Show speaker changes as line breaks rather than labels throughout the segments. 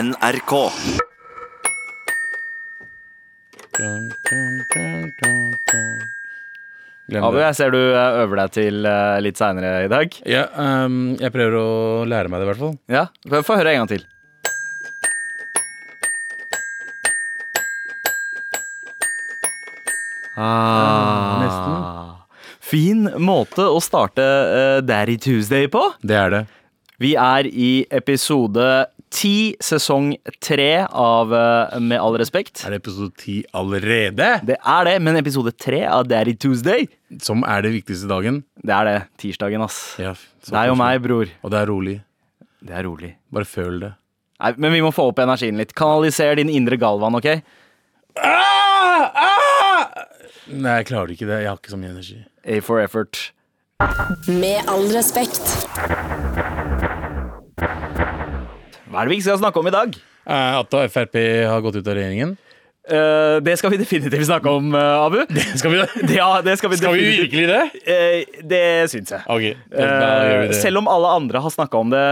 NRK.
Glem
Abu,
det.
jeg ser du eh, øver deg til eh, litt seinere i dag.
Ja, ehm, jeg prøver å lære meg det, i hvert fall.
Ja, Få få høre en gang til. Ah, Fin måte å starte eh, Daddy Tuesday på.
Det er det.
Vi er i episode ti, sesong tre av eh, Med all respekt.
Er det episode ti allerede?
Det er det, men episode tre av Daddy Tuesday,
Som er det viktigste dagen.
det er det. Tirsdagen, ass.
Ja,
Det er jo meg, bror.
Og det er rolig.
Det er rolig.
Bare føl det.
Nei, men vi må få opp energien litt. Kanaliser din indre Galvan, OK?
Ah! Ah! Nei, jeg klarer ikke det. Jeg har ikke så mye energi.
A for effort.
Med all respekt.
Hva er det vi ikke skal snakke om i dag?
Eh, At da Frp har gått ut av regjeringen.
Eh, det skal vi definitivt snakke om, eh, Abu.
Skal vi det?
Ja, det skal vi
Skal vi
definitivt.
virkelig det?
Eh, det syns jeg.
Ok, da gjør vi
Eh,
det.
Selv om alle andre har snakka om det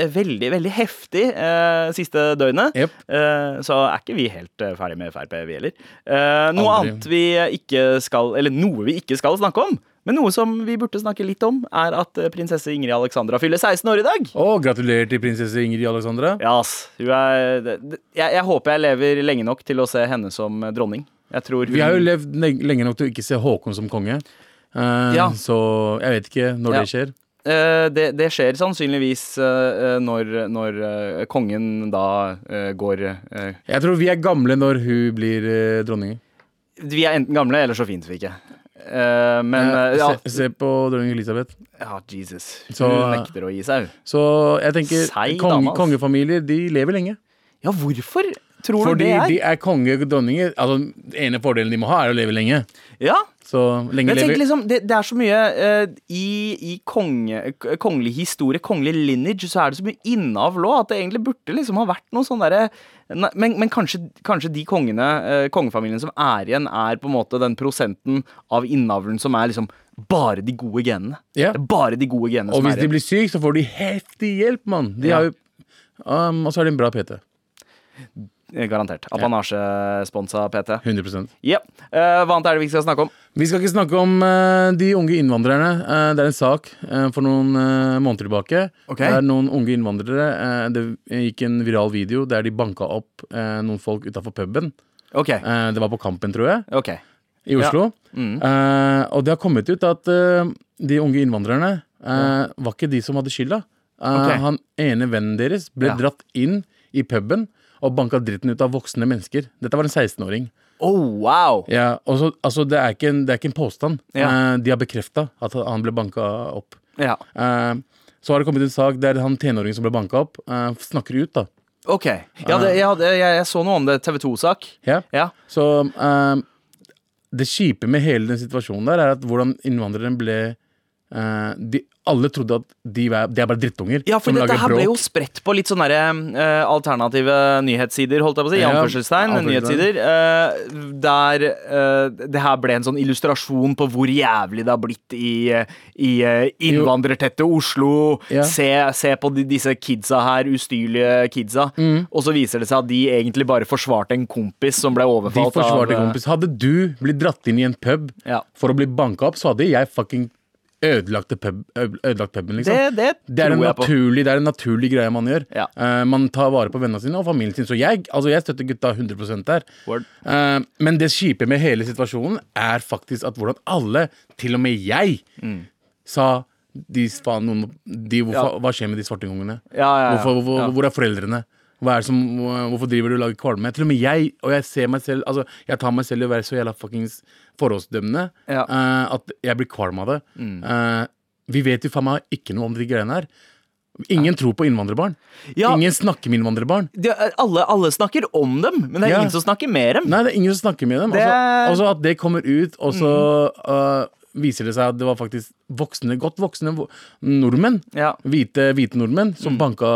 eh, veldig veldig heftig eh, siste døgnet,
Jep.
eh, så er ikke vi helt eh, ferdig med Frp, vi heller. Eh, noe
Aldri.
annet vi ikke skal Eller noe vi ikke skal snakke om, men noe som vi burde snakke litt om, er at eh, prinsesse Ingrid Alexandra fyller 16 år i dag.
Å, gratulerer til prinsesse Ingrid Alexandra.
Ja, ass. Hun er, det- det- jeg, jeg håper jeg lever lenge nok til å se henne som eh, dronning. Jeg tror hun
Vi har jo levd len- lenge nok til å ikke se Håkon som konge. Eh,
Ja.
Så jeg vet ikke når det skjer.
Eh, det, det skjer sannsynligvis eh, eh, når, når eh, kongen da eh, går eh,
Jeg tror vi er gamle når hun blir eh, dronning.
Vi er enten gamle, eller så finnes vi ikke. Eh, men eh, ja,
se, se på dronning Elisabeth.
ja, Jesus. Hun
Så-
nekter å gi seg, hun.
Så jeg tenker
Seig
kong,
dame, ass.
kongefamilier de lever lenge.
Ja, hvorfor tror du
Fordi
det er?
de er konge og dronninger. Altså, den ene fordelen de må ha, er å leve lenge.
Ja,
Så lenge
jeg tenker
lever
liksom, det, det er så mye eh, I, i konge, k- kongelig historie, kongelig lineage, så er det så mye innavl òg, at det egentlig burde liksom ha vært noe sånn derre Nei, Men, men kanskje, kanskje de kongene, eh, kongefamilien som er igjen, er på en måte den prosenten av innavlen som er liksom bare de gode genene.
Ja.
Det er bare de gode genene
Og
som
hvis
er
de
igjen.
blir syke, så får de heftig hjelp, mann.
sånn
De
Ja.
har jo um, Og så er de en bra PT.
Eh, Garantert. Apanasjesponsa PT.
100
Ja. Eh, hva annet er det vi ikke skal snakke om?
Vi skal ikke snakke om eh, de unge innvandrerne. Eh, det er en sak eh, for noen eh, måneder tilbake.
Ok.
Det er noen unge innvandrere. eh, det gikk en viral video der de banka opp eh, noen folk utafor puben.
Ok.
Eh, det var på Kampen, tror jeg,
ok.
i Oslo.
Mm.
Eh, og det har kommet ut at eh, de unge innvandrerne eh, var ikke de som hadde skylda. Eh,
Ok.
Han ene vennen deres ble
Ja.
dratt inn i puben og banka dritten ut av voksne mennesker. Dette var en 16-åring.
Oh, wow!
Ja, og så- altså det, er ikke en, det er ikke en påstand.
Ja.
Eh, de har bekrefta at han ble banka opp.
Ja.
Eh, så har det kommet en sak der han tenåringen som ble banka opp, eh, snakker ut. da
Ok. Ja, det, jeg, hadde, jeg, jeg så noe om det. TV 2-sak.
ja?
Ja.
Så eh, det kjipe med hele den situasjonen der, er at hvordan innvandreren ble eh, de, Alle trodde at de, var, de er bare drittunger
Ja, for
som
dette
lager
her ble jo
bråk.
spredt på litt sånne der, eh, alternative nyhetssider, holdt jeg på å si. i
Ja,
anførselstegn,
anførselstegn.
nyhetssider. eh, der eh, det her ble en sånn illustrasjon på hvor jævlig det har blitt i, eh, i eh, innvandrertette Oslo.
Ja.
Se, se på de, disse kidsa her, ustyrlige kidsa.
Mm.
Og så viser det seg at de egentlig bare forsvarte en kompis som ble
De
overfalt av
forsvarte
eh,
kompis. Hadde du blitt dratt inn i en pub
Ja.
for å bli banka opp, så hadde jeg fucking ødelagt, pub, ødelagt puben, liksom.
Det, det,
Det er, en
tror jeg på.
naturlig, det er en naturlig greie man gjør.
Ja.
Eh, man tar vare på vennene sine og familien sin. Så jeg, altså jeg støtter gutta 100 der.
Word.
Eh, men det kjipe med hele situasjonen er faktisk at hvordan alle, til og med jeg, sa de, faen, noen, de, hvorfor,
Mm. Ja.
Hva skjer med de svarte ungene?
Ja, ja, ja.
Hvorfor, hvor,
Ja.
hvor er foreldrene? Hva er det som, hvorfor driver du og lager kvalme? Til og med jeg, og jeg ser meg selv Altså, jeg tar meg selv i å være så jævla fuckings forholdsdømmende
Ja. Mm.
eh, at jeg blir kvalm av det. Eh, vi vet jo faen meg ikke noe om de greiene her. Ingen tror på innvandrerbarn.
Ja.
Ingen snakker med innvandrerbarn.
De, alle, alle snakker om dem, men det er
Ja.
ingen som snakker med dem.
Nei, det er ingen som snakker med dem.
Det- Mm.
Altså, altså at eh, det kommer ut, og så øh, viser det seg at det var faktisk voksne, godt voksne vo- nordmenn,
Ja. Mm.
hvite, hvite nordmenn, som banka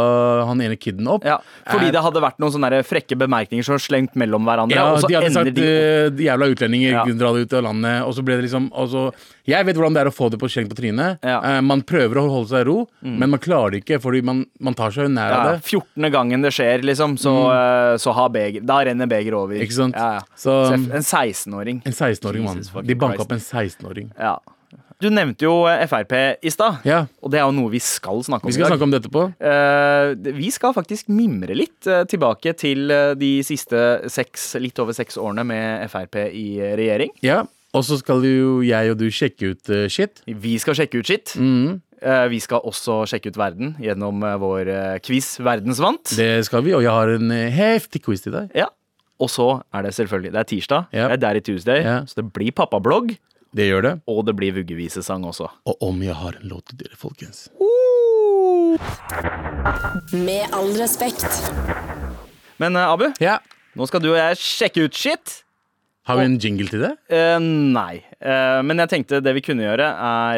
han ene kiden opp. Eh,
Ja, fordi
Er-
det hadde vært noen sånne der frekke bemerkninger som var slengt mellom hverandre.
Ja,
og så
de hadde
ender
sagt
de
eh, de jævla utlendinger,
Ja.
dra det ut av landet. Og så ble det liksom og så- Jeg vet hvordan det er å få det på skjenk på trynet.
Ja. Mm.
Eh, man prøver å holde seg i ro, men man klarer det ikke, fordi man, man tar seg jo nær
ja,
av det.
14. gangen det skjer, liksom, så, eh, så har beger, da renner begeret over.
Mm. Ikke sant?
Ja, ja. Så,
Så-
en 16-åring.
En 16-åring, mann.
Jesus fucking
De banka
Christ.
opp en 16-åring.
Ja. Du nevnte jo eh, Frp i stad,
Ja.
og det er jo noe vi skal snakke om
Vi skal
i dag.
snakke om det etterpå.
Eh, det- vi skal faktisk mimre litt eh, tilbake til eh, de siste seks, litt over seks årene med Frp i eh, regjering.
Ja. Og så skal jo jeg og du sjekke ut eh, shit.
Vi skal sjekke ut skitt.
Mm.
Eh, vi skal også sjekke ut verden gjennom eh, vår eh, quiz Verdensvant.
Det skal vi, og jeg har en eh, heftig quiz til deg.
Ja. Og så er det selvfølgelig Det er tirsdag,
Ja.
det er Daddy Tuesday,
Ja.
så det blir pappablogg,
Det gjør det.
og det blir vuggevisesang også.
Og om jeg har en låt til dere, folkens.
Med all respekt.
Men eh, Abu,
Ja.
nå skal du og jeg sjekke ut skitt.
Har vi en jingle til det?
Eh, nei. Eh, men jeg tenkte det vi kunne gjøre,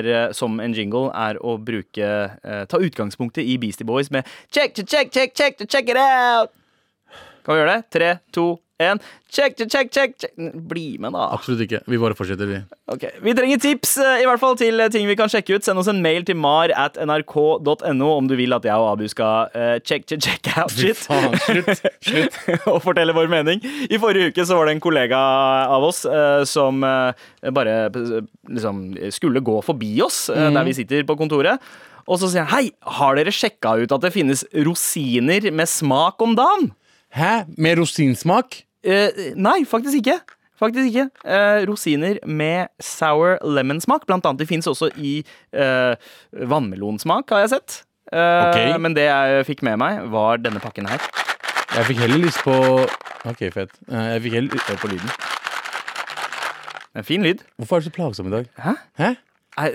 er, eh, som en jingle, er å bruke eh, Ta utgangspunktet i Beastie Boys med check, check, check, check, check, check, check it out! Kan vi gjøre det? Tre, to, én. Check, check, check, check, check. Bli med, da.
Absolutt ikke. Vi bare fortsetter, vi.
Ok, Vi trenger tips eh, i hvert fall til eh, ting vi kan sjekke ut. Send oss en mail til mar at nrk.no om du vil at jeg og Abu skal eh, check, check, check out shit.
Faen, slutt. Slutt.
og fortelle vår mening. I forrige uke så var det en kollega av oss eh, som eh, bare eh, liksom skulle gå forbi oss eh, der vi sitter på kontoret. Og så sier han hei, har dere sjekka ut at det finnes rosiner med smak om dagen?
Hæ? Med rosinsmak?
Eh, nei, faktisk ikke. Faktisk ikke. Eh, rosiner med sour lemon-smak. Blant annet, de fins også i eh, vannmelonsmak, har jeg sett. Eh,
Ok.
Men det jeg fikk med meg, var denne pakken her.
Jeg fikk heller lyst på Ok, fett. Eh, Jeg fikk heller Hør på lyden.
En fin lyd.
Hvorfor er du så plagsom i dag?
Hæ?
Hæ?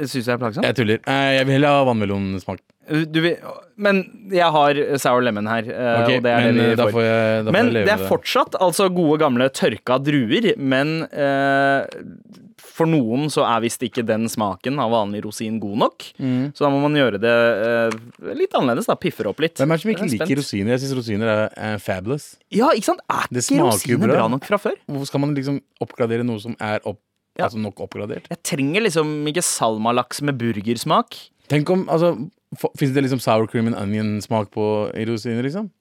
Syns jeg er plagsom?
Jeg tuller. Eh, Jeg vil heller ha vannmelonsmak.
Eh, Du vil, men jeg har sour lemon her, eh,
Ok,
og det er
men
det
eh,
vi
da
får.
får jeg da får
Men
jeg leve
det er
med
fortsatt altså gode gamle tørka druer, men eh, for noen så er visst ikke den smaken av vanlig rosin god nok.
Mm.
Så da må man gjøre det eh, litt annerledes, da. Piffer opp litt.
Hvem er det som
Jeg
ikke
er
liker
spent.
rosiner? Jeg syns rosiner er, er fabulous.
Ja, ikke sant? Er
Det
ikke
smaker jo
rosiner
bra.
bra nok fra før?
Hvorfor skal man liksom oppgradere noe som er opp,
Ja.
altså nok oppgradert?
Jeg trenger liksom ikke salmalaks med burgersmak.
Tenk om, altså Fins det liksom sour cream and onion-smak på i rosiner, liksom?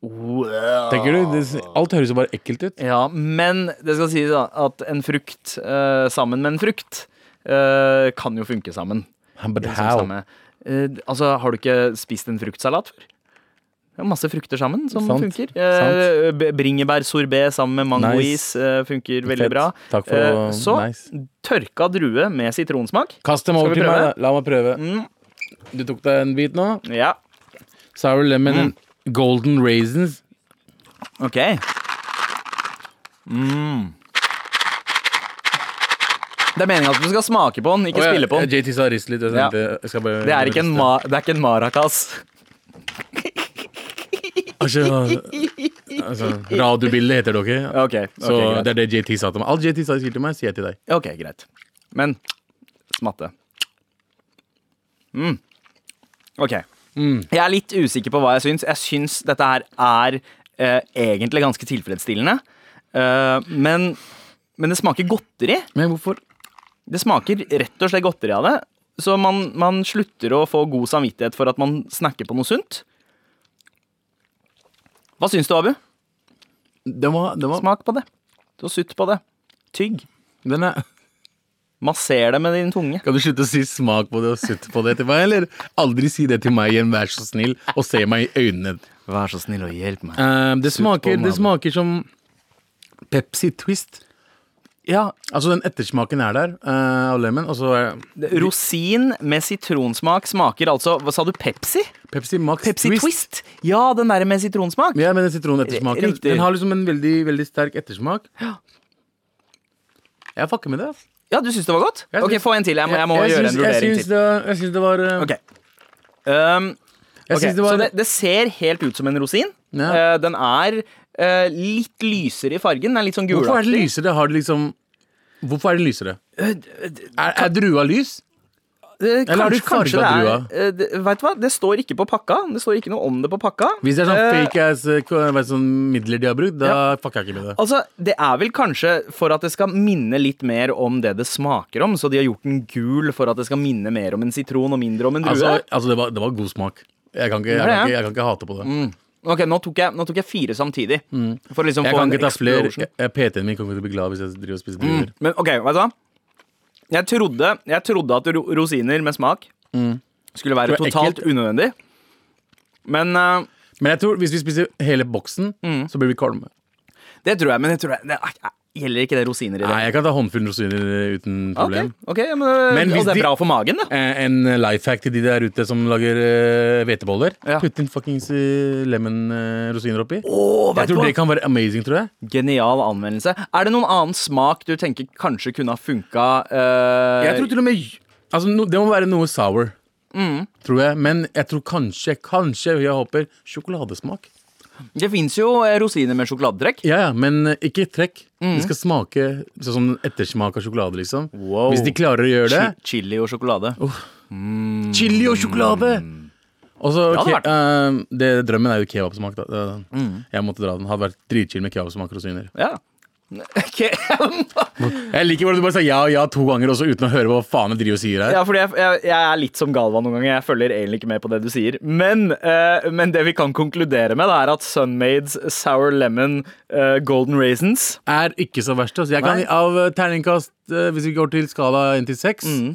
Tenker du? Det, alt høres jo bare ekkelt ut.
Ja, men det skal sies da, at en frukt eh, sammen med en frukt eh, kan jo funke sammen.
But
Liksom
how?
samme- Eh, altså, har du ikke spist en fruktsalat før? Det er masse frukter sammen som
Sant,
funker. Uh, Bringebærsorbé sammen med mangois
Nice.
eh, funker veldig
Fett.
bra.
Takk for
Eh,
å-
så
nice.
tørka drue med sitronsmak.
Kast dem
Skal
over
vi
til
prøve?
meg, da. La meg prøve. Mm. Du tok deg en bit nå.
Ja,
Sour lemon and golden raisins.
ok.
Mm.
Det er meningen at du skal smake på den, ikke
Å, ja,
spille på den.
JT sa rist litt. Jeg
Ja.
tenkte, jeg skal bare,
Det er ikke en,
riste.
ma det er ikke en maracas.
Altså, altså, radiobilde heter det ikke.
Ok,
Så
ok,
det
greit.
er det JT sa til meg. Alt JT sa sier til meg, sier jeg til deg.
ok, greit. Men smatte. Mm. Ok. Jeg er litt usikker på hva jeg syns. Jeg syns dette her er eh, egentlig ganske tilfredsstillende. Eh, men, men det smaker godteri.
Men hvorfor
Det smaker rett og slett godteri av det. Så man, man slutter å få god samvittighet for at man snakker på noe sunt. Hva syns du, Abu?
Den var, den var
Smak på det. Så sutt på det. Tygg.
den er,
Masser det med din tunge.
Kan du slutte å si smak på det og sutte på det til meg, eller? Aldri si det til meg igjen, vær så snill, og se meg i øynene.
Vær så snill og hjelp meg.
Eh, det, smaker, det
magen.
smaker som Pepsi Twist.
Ja,
Altså, den ettersmaken er der eh, av lemen, og så er
det- Eh, Rosin med sitronsmak smaker altså Hva sa du? Pepsi?
Pepsi Max
Pepsi Twist?
Twist.
Ja, den der med sitronsmak.
Ja, men den sitronettersmaken
Riktig.
Den har liksom en veldig, veldig sterk ettersmak. Jeg fucker med det. ass.
Ja, du syns det var godt?
Jeg
Ok,
syns-
Få en til. Jeg må, jeg må gjøre
syns-
en vurdering
jeg syns
til.
det, jeg syns det var eh,
Ok. Um,
Jeg
ok,
syns det
Så
var
det, det ser helt ut som en rosin.
Ja.
Eh, den er eh, litt lysere i fargen. Den er Øh, litt sånn gulaktig.
Hvorfor er det lysere? Har det liksom Hvorfor er det lysere? Er, er drua lys?
Eh,
Eller har de
kanskje- kanskje
farga
det er- eh, det- Vet du hva, det står ikke på pakka. Det står ikke noe om det på pakka.
Hvis det er sånn
Eh,
fake ass eh, ko- hva er det, sånn midler de har brukt, da fucker jeg ikke med det.
Altså, Det er vel kanskje for at det skal minne litt mer om det det smaker om. Så de har gjort den gul for at det skal minne mer om en sitron og mindre om en drue.
Altså, altså det, var, det var god smak. Jeg kan ikke, jeg
Det er det, Mm.
kan ikke,
ja.
jeg kan ikke hate på det.
ok, nå tok, jeg, nå tok jeg fire samtidig. For å liksom
Mm. Jeg
få
kan
en
ikke ta flere.
explosion.
Jeg- jeg- PT-en min kommer til å bli glad hvis jeg driver og spiser
Mm.
druer.
Men ok, vet du hva? Jeg trodde, jeg trodde at ro rosiner med smak skulle være
Mm. Det var
totalt
ekkelt.
unødvendig. Men eh,
Men jeg tror hvis vi spiser hele boksen,
Mm.
så blir vi kvalme.
det tror jeg. Men jeg tror jeg, det er- gjelder ikke det rosiner i det.
Nei, jeg kan ta håndfull rosiner uten
Ok,
problem.
ok, ja, men, eh,
Men hvis
Og det
de-
er bra for magen, da.
Eh, En life hack til de der ute som lager eh, hveteboller.
Ja.
Putt inn fuckings eh, lemon eh, rosiner oppi.
Åh, vet
jeg
du
tror
hva?
det kan være amazing, tror jeg.
Genial anvendelse. Er det noen annen smak du tenker kanskje kunne ha funka? eh,
Jeg tror til og med altså, no, Det må være noe sour,
Mm.
tror jeg. Men jeg tror kanskje, kanskje, jeg håper, sjokoladesmak.
Det fins jo eh, rosiner med sjokoladetrekk.
Ja, ja, men eh, ikke trekk.
Mm.
Det skal smake sånn som ettersmak av sjokolade, liksom.
Wow.
Hvis de klarer å gjøre det.
Chi- Chili og sjokolade.
Chili og sjokolade! Og så,
mm. Det hadde Mm.
ke- eh, det, drømmen er jo kebabsmak. Da. Det- Jeg måtte dra den. Hadde vært dritchill med kebabsmak og rosiner.
Ja. Ok.
Jeg liker hvordan du bare sa ja og ja to ganger også uten å høre hva faen jeg driver og sier her.
ja, fordi jeg, jeg, jeg er litt som Galvan noen ganger. Jeg følger egentlig ikke med på det du sier. Men, eh, men det vi kan konkludere med, da, er at Sunmades Sour Lemon eh, Golden Raisins
Er ikke så verst. Altså. Jeg kan
Nei.
av eh, terningkast, eh, hvis vi går til skala 1 til 6
Mm.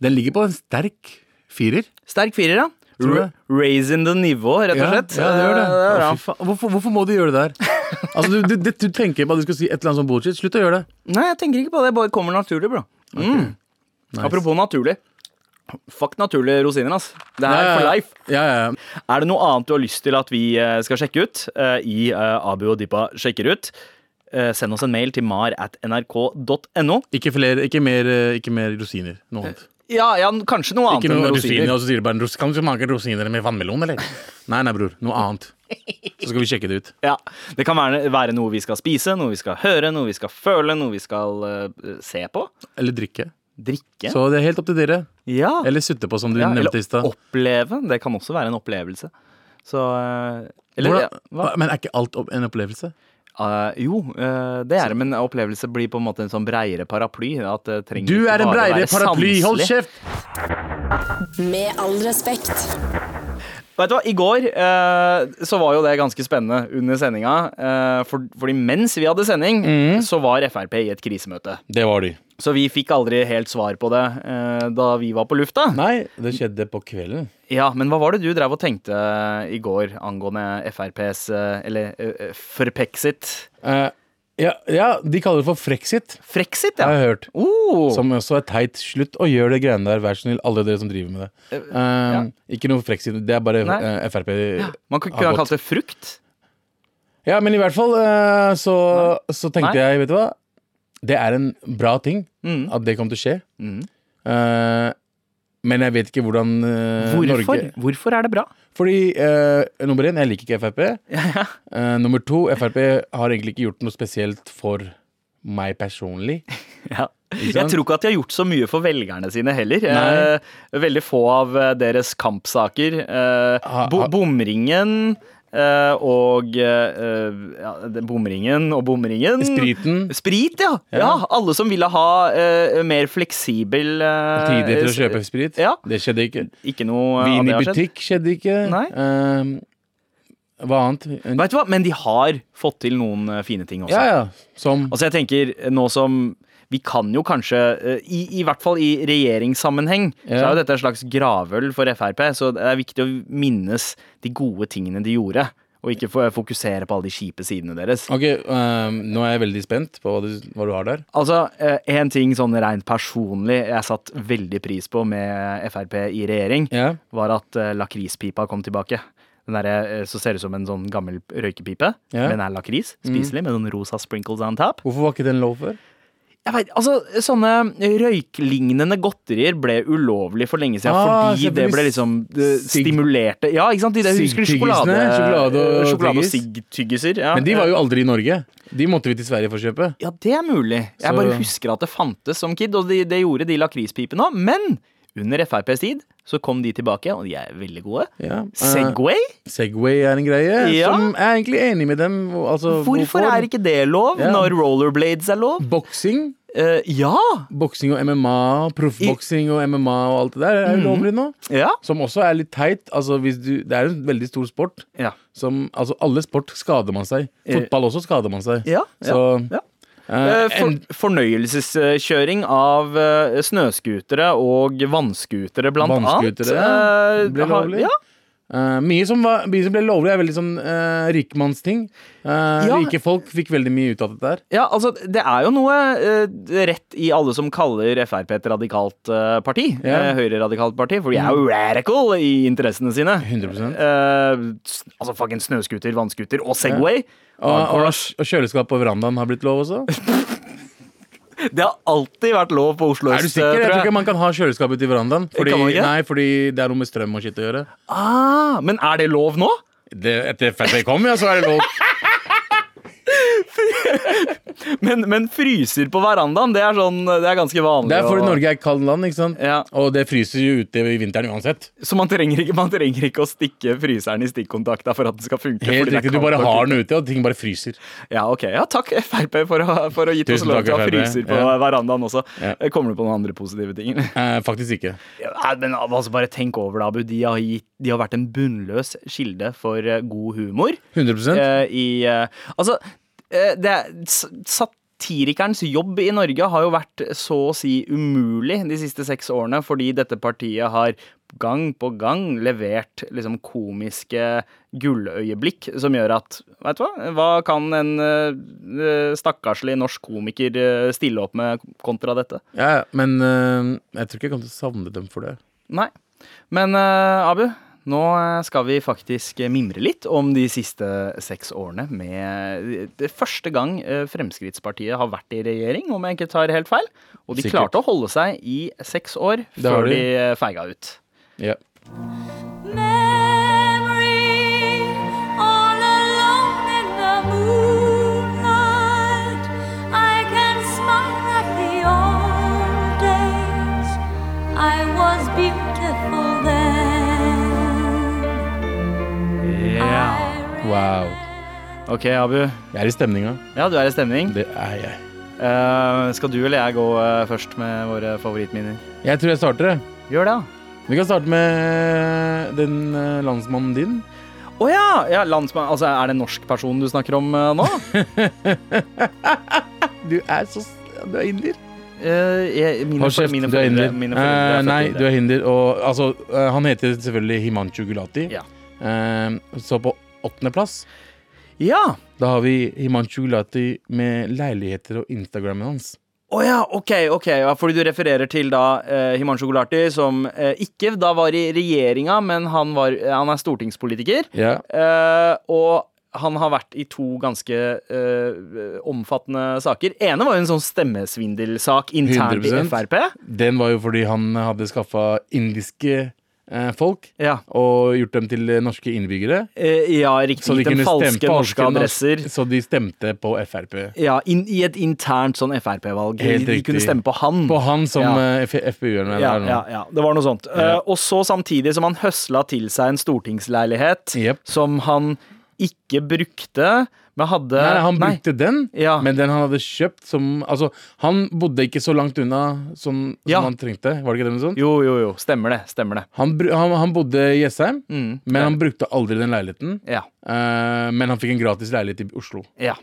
Den ligger på en sterk firer.
Sterk firer, ja.
Tror jeg.
Raisin the nivå, rett og slett.
Ja, ja, det gjør det.
Eh, er bra.
Å, fy faen. hvorfor, hvorfor må du gjøre det der? Altså, du, du, du, du tenker på at du skal si et eller annet sånt bullshit. Slutt å gjøre det.
Nei, jeg tenker ikke på det. Det bare kommer naturlig, bro. Mm.
Nice.
Apropos naturlig. Fuck naturlige rosiner, ass. Det er
Ja,
for
ja,
life.
Ja, ja, ja.
Er det noe annet du har lyst til at vi eh, skal sjekke ut eh, i eh, Abu og Dippa sjekker ut? eh, Send oss en mail til mar at nrk.no.
Ikke, flere, ikke, mer, eh, ikke mer rosiner. Noe annet.
Ja, ja, kanskje noe Eh, annet enn
Ikke noe
rosiner.
rosiner, og så sier du bare "Ros- Kan du smake rosiner med vannmelon, eller? Nei, nei, bror. Noe annet. Så skal vi sjekke det ut.
Ja, Det kan være, være noe vi skal spise, noe vi skal høre, noe vi skal føle, noe vi skal eh, se på.
Eller drikke.
Drikke.
Så det er helt opp til dere.
ja.
Eller sutte på, som du
ja,
nevnte i
eller
stad.
oppleve. Det kan også være en opplevelse. Så eh, Eller
Hvordan- Ah,
ja, hva?
Men er ikke alt opp- en opplevelse?
Eh, jo, eh, det er det, men opplevelse blir på en måte en sånn breiere paraply. At det trenger
Du
ikke
er en
bare
breiere
være
paraply! Hold
sanselig.
kjeft!
Med all respekt.
Vet du hva, I går eh, så var jo det ganske spennende under sendinga. Eh, for, fordi mens vi hadde sending,
Mm.
så var Frp i et krisemøte.
Det var de.
Så vi fikk aldri helt svar på det eh, da vi var på lufta.
Nei, det skjedde på kvelden.
Ja, Men hva var det du drev og tenkte eh, i går angående FrPs eh, Eller eh, forpexit?
Eh, ja, ja, de kaller det for frexit,
Frexit,
har
ja.
jeg hørt.
Oh.
Som også er teit. Slutt å gjøre det greiene der, vær så snill, alle dere som driver med det. Eh, Ikke noe frexit, det er bare
Nei.
eh, Frp.
Man kan
har
kunne
gått.
kalt det frukt.
Ja, men i hvert fall eh, så, så tenkte
Nei.
jeg, vet du hva Det er en bra ting
Mm.
at det kommer til å skje.
Mm.
Eh, men jeg vet ikke hvordan eh,
Hvorfor?
Norge
Hvorfor er det bra?
Fordi eh, nummer én, jeg liker ikke Frp.
ja.
Eh, nummer to, Frp har egentlig ikke gjort noe spesielt for meg personlig.
Ja.
Ikke
Jeg
sant?
tror ikke at de har gjort så mye for velgerne sine heller.
Nei.
Eh, veldig få av eh, deres kampsaker. Eh,
Ha-
bo
ha-
bomringen eh, og eh, ja, det- Bomringen og bomringen.
Spriten.
Sprit, ja. ja. alle som ville ha eh, mer fleksibel eh,
Tider til å kjøpe sprit.
Ja.
Det skjedde ikke.
Ikke noe av
Vin
det
i
har skjedd.
butikk skjedde ikke.
Nei.
Eh, hva annet? En-
Vet du hva? Men de har fått til noen eh, fine ting også.
Ja, ja. Som
Altså jeg tenker nå som vi kan jo kanskje, eh, i, i hvert fall i regjeringssammenheng, så
Ja.
er jo dette en slags gravøl for Frp, så det er viktig å minnes de gode tingene de gjorde, og ikke få- fokusere på alle de kjipe sidene deres.
Ok, eh, nå er jeg veldig spent på hva du, hva du har der.
Altså, én ting sånn rent personlig jeg satt veldig pris på med Frp i regjering,
Ja.
var at eh, lakrispipa kom tilbake. Den derre eh, så ser ut som en sånn gammel røykepipe,
Ja. Mm.
men er lakris. Spiselig, med noen rosa sprinkles on top.
Hvorfor var ikke den lov før?
jeg vet, altså Sånne røyklignende godterier ble ulovlig for lenge siden
Ah,
fordi det
selvfølgelig
ble liksom eh,
sigg-
stimulerte Ja, ikke sant? De der, husker du sjokolade, eh,
Siggtyggisene, sjokolade og
sjokolade og
tyggis.
siggtyggiser? Ja. eh,
Men de var jo aldri i Norge. De måtte vi til Sverige for å kjøpe.
Ja, det er mulig. Jeg
Så-
bare husker at det fantes som kid, og det de gjorde de lakrispipene òg. Men under FrPs tid så kom de tilbake, og de er veldig gode.
Ja. Eh,
Segway?
Segway er en greie
Ja.
som jeg er egentlig enig med dem. og- Altså,
Hvorfor er ikke det lov
Ja.
når rollerblades er lov?
Boksing,
Eh, ja!
boksing og MMA, proffboksing og MMA og alt det der er
Mhm.
ulovlig nå.
Ja.
Som også er litt teit. Altså, hvis du, det er en veldig stor sport.
Ja.
Som, altså, alle sport skader man seg.
Eh.
Fotball også skader man seg.
ja.
Så
ja.
eh,
Eh, For,
en-
fornøyelseskjøring av eh, snøskutere og vannskutere, blant annet.
Vannskutere
eh,
ble
har-
lovlig.
Ja,
eh, mye, som var, mye som ble lovlig, er veldig sånn eh, rikmannsting. Eh,
Ja.
Rike folk fikk veldig mye ut av dette her.
Ja, altså, det er jo noe eh, rett i alle som kaller Frp et radikalt eh, parti.
Ja. Mm.
Eh, Høyre-radikalt parti, for de er jo radical i interessene sine.
100
Eh, s- altså fucking snøskuter, vannskuter og Segway.
Og, og, og kjøleskap på verandaen har blitt lov også.
Det har alltid vært lov på Oslo
ah. Er du
øst, eh,
sikker? Jeg
tror
eh, tror
jeg.
ikke man kan ha kjøleskap ute i verandaen. Fordi,
Kan man ikke?
nei, fordi det er noe med strøm og shit å gjøre.
Ah, men er det lov nå?
Det, etter Frp kom, ja, så er det lov.
Men, men fryser på verandaen, det er, sånn, det er ganske vanlig.
Det er fordi
å-
Norge er et kaldt land, ikke sant?
Ja.
Og det fryser jo ute i vinteren uansett.
Så man trenger, ikke, man trenger ikke å stikke fryseren i stikkontakta for at den skal funke.
Helt
fordi det er
riktig, Du
kaldt
bare
og
har den ute, og ting bare fryser.
Ja, ok. Ja, takk Frp for å, for å gitt oss
Tusen
lov
takk,
til å ha
FrP.
fryser på
Ja.
verandaen også. Eh,
Ja.
Kommer du på noen andre positive ting? eller?
Eh, faktisk ikke.
Ja, men altså, bare tenk over det, Abu. De har, gitt, de har vært en bunnløs kilde for eh, god humor
100
eh, i eh, Altså, eh, det er s- Satirikerens jobb i Norge har jo vært så å si umulig de siste seks årene, fordi dette partiet har gang på gang levert liksom komiske gulløyeblikk som gjør at Veit du hva? Hva kan en eh, stakkarslig norsk komiker eh, stille opp med kontra dette?
ja, Men eh, jeg tror ikke jeg kommer til å savne dem for det.
Nei. Men eh, Abu, nå eh, skal vi faktisk eh, mimre litt om de siste seks årene med eh, Det er første gang eh, Fremskrittspartiet har vært i regjering, om jeg ikke tar helt feil. Og de
Sikkert.
klarte å holde seg i seks år
Det har
før
de.
de eh, feiga ut.
Ja.
memory all alone in the moonlight. I can smile at the old days. I was beautiful then.
Wow.
OK, Abu.
Jeg er i stemninga.
Ja, du er i stemning.
Det er jeg.
Eh, skal du eller jeg gå eh, først med våre favorittminner?
Jeg tror jeg starter, jeg.
Gjør det, da.
Vi kan starte med den eh, landsmannen din.
Å ja! ja landsmann, altså, er det en norsk person du snakker om eh, nå?
Du er så s- Du er indier.
Eh, jeg, mine,
Hold kjeft,
mine
du er
foreldre-
hinder.
mine foreldre
Eh,
er
nei,
født
du er hinder. Og, altså, eh, han heter selvfølgelig Himanshu Gulati.
Ja.
Eh, så på åttendeplass
Ja!
da har vi Himanshu Gulati med leiligheter og Instagrammen hans.
Å ja, ok, ok. Ja, fordi du refererer til da eh, Himanshu Gulati, som eh, ikke da var i regjeringa, men han, var, eh, han er stortingspolitiker.
Ja.
Eh, og han har vært i to ganske eh, omfattende saker. ene var jo en sånn stemmesvindelsak internt i
100%.
Frp.
Den var jo fordi han hadde skaffa indiske eh, folk
Ja,
og gjort dem til eh, norske innbyggere.
eh, ja
Så
riktig.
de
Gitt dem
kunne
falske
stemme
norske adresser.
Så de stemte på Frp.
Ja, inn- I et internt sånn Frp-valg.
Helt
De kunne
riktig.
stemme på han.
På han som
Ja.
eh, ja. FpU-eren
ja,
er nå.
ja, ja, det var noe sånt.
Ja.
Eh, og så samtidig som han høsla til seg en stortingsleilighet
Jep.
som han ikke brukte, men hadde
Nei, nei, han
Nei.
brukte den,
Ja.
men den han hadde kjøpt som Altså, han bodde ikke så langt unna som,
Ja.
som han trengte, var det ikke det? Sånn?
Jo, jo, jo. Stemmer det. Stemmer det.
Han, bru- han, han bodde i Jessheim,
Mm.
men han brukte aldri den leiligheten.
Ja.
Eh, men han fikk en gratis leilighet i Oslo.
ja.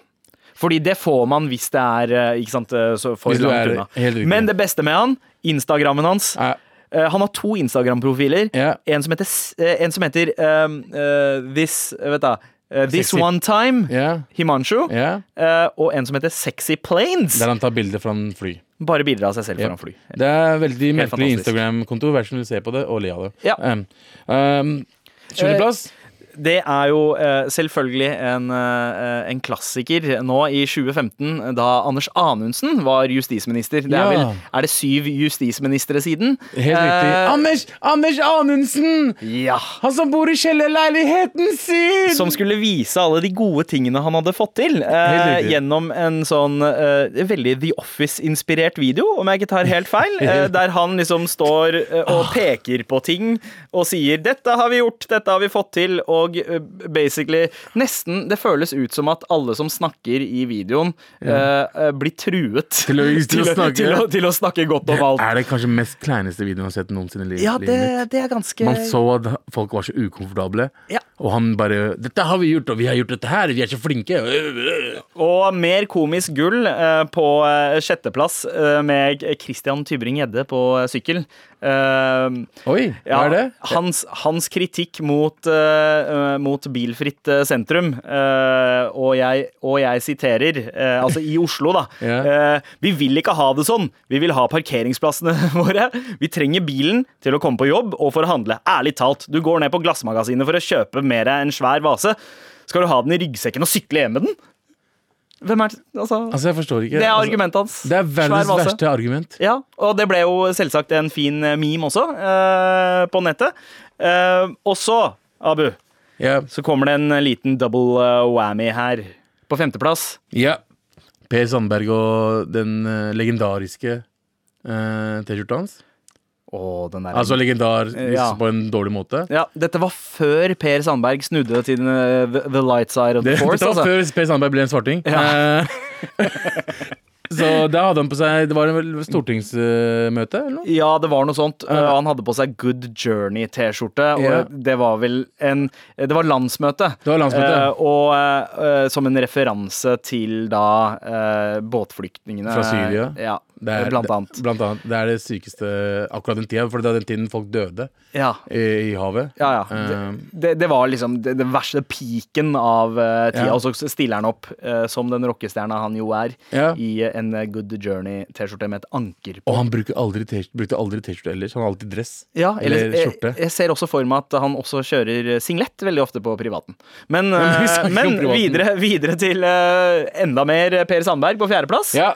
Fordi det får man hvis det er eh, ikke sant, eh, så for
Hvis du
langt
er- helt
unna.
riktig.
Men det beste med han, Instagrammen hans
Eh,
Eh, Han har to Instagram-profiler.
Ja.
En som heter, s- eh, en som heter um, eh, This Vet da. eh, This
Sexy.
One Time.
Ja.
Himanshu.
ja.
eh, og en som heter Sexy Planes.
Der han tar bilder fra en fly.
Bare bilder av seg selv
Ja.
foran fly.
Det er veldig
Helt
merkelig
fantastisk.
Instagram-konto. Hver som vil se på det og le av det.
Ja.
Um, um, 20. plass.
det er jo eh, selvfølgelig en, eh, en klassiker nå i 2015, da Anders Anundsen var justisminister. Det er,
Ja.
vel, er det syv justisministre siden?
Helt riktig.
Eh,
Anders, Anders Anundsen!
ja.
Han som bor i kjellerleiligheten sin!
Som skulle vise alle de gode tingene han hadde fått til.
Helt
Eh,
riktig.
gjennom en sånn eh, veldig The Office-inspirert video, om jeg ikke tar helt feil. Eh, der han liksom står eh, og peker på ting og sier 'dette har vi gjort, dette har vi fått til', og eh, basically nesten Det føles ut som at alle som snakker i videoen, eh, eh, blir truet
Til å- til å snakke.
til, å, til å snakke godt om alt.
er det kanskje mest kleineste videoen jeg har sett noensinne i livet
Ja,
livet
det,
mitt.
det er ganske
Man så at folk var så ukomfortable,
Ja.
og han bare 'Dette har vi gjort, og vi har gjort dette her, vi er så flinke'.
Og mer komisk gull eh, på eh, sjetteplass eh, med Christian Tybring-Gjedde på eh, sykkel. Eh,
Oi, hva
ja,
er det?
Hans, hans kritikk mot, eh, eh, mot bilfritt eh, sentrum, eh, og, jeg, og jeg siterer, eh, altså i Oslo, da.
Ja.
eh, vi vil ikke ha det sånn. Vi vil ha parkeringsplassene våre. Vi trenger bilen til å komme på jobb og for å handle. Ærlig talt, du går ned på Glassmagasinet for å kjøpe mer enn en svær vase. Skal du ha den i ryggsekken og sykle hjem med den? Hvem er det Altså,
Altså, jeg forstår ikke.
det er
Altså,
argumentet hans.
Det er verdens
Svær vase.
verste argument.
Ja, og det ble jo selvsagt en fin meme også eh, på nettet. Eh, og så, Abu,
Ja.
så kommer det en liten double eh, whammy her. På femteplass.
ja. Per Sandberg og den eh, legendariske eh, T-skjorta hans.
Å, den der
Altså legendar hvis
Eh, Ja.
på en dårlig måte.
ja, Dette var før Per Sandberg snudde til den, eh, the, the light side of
Det,
the force.
dette var
Altså.
før Per Sandberg ble en svarting. Eh, så da hadde han på seg Det var vel stortingsmøte eller noe?
Ja, det var noe sånt. Eh, han hadde på seg Good Journey-T-skjorte, og
Ja.
det var vel en Det var landsmøte.
Det var landsmøte,
Eh,
ja.
og eh, eh, som en referanse til da eh, båtflyktningene
Fra Syria.
Ja,
Det er,
Eh, blant annet.
Det, blant annet. Det er det sykeste akkurat den tida, for det er den tiden folk døde
Ja.
i, i havet.
Ja, ja.
Eh,
Det, det, det var liksom det, det verste piken av eh, tida.
Ja.
Og så stiller han opp eh, som den rockestjerna han jo er,
Ja.
i eh, en eh, Good Journey-T-skjorte med et anker på.
og han bruker aldri T- brukte aldri T-skjorte ellers. Han har alltid dress
Ja, eller, eh,
eller skjorte.
Jeg, jeg ser også for meg at han også kjører eh, singlet veldig ofte på privaten. Men, eh,
vi snakker om
men
privaten.
videre, videre til eh, enda mer Per Sandberg på fjerdeplass.
Ja,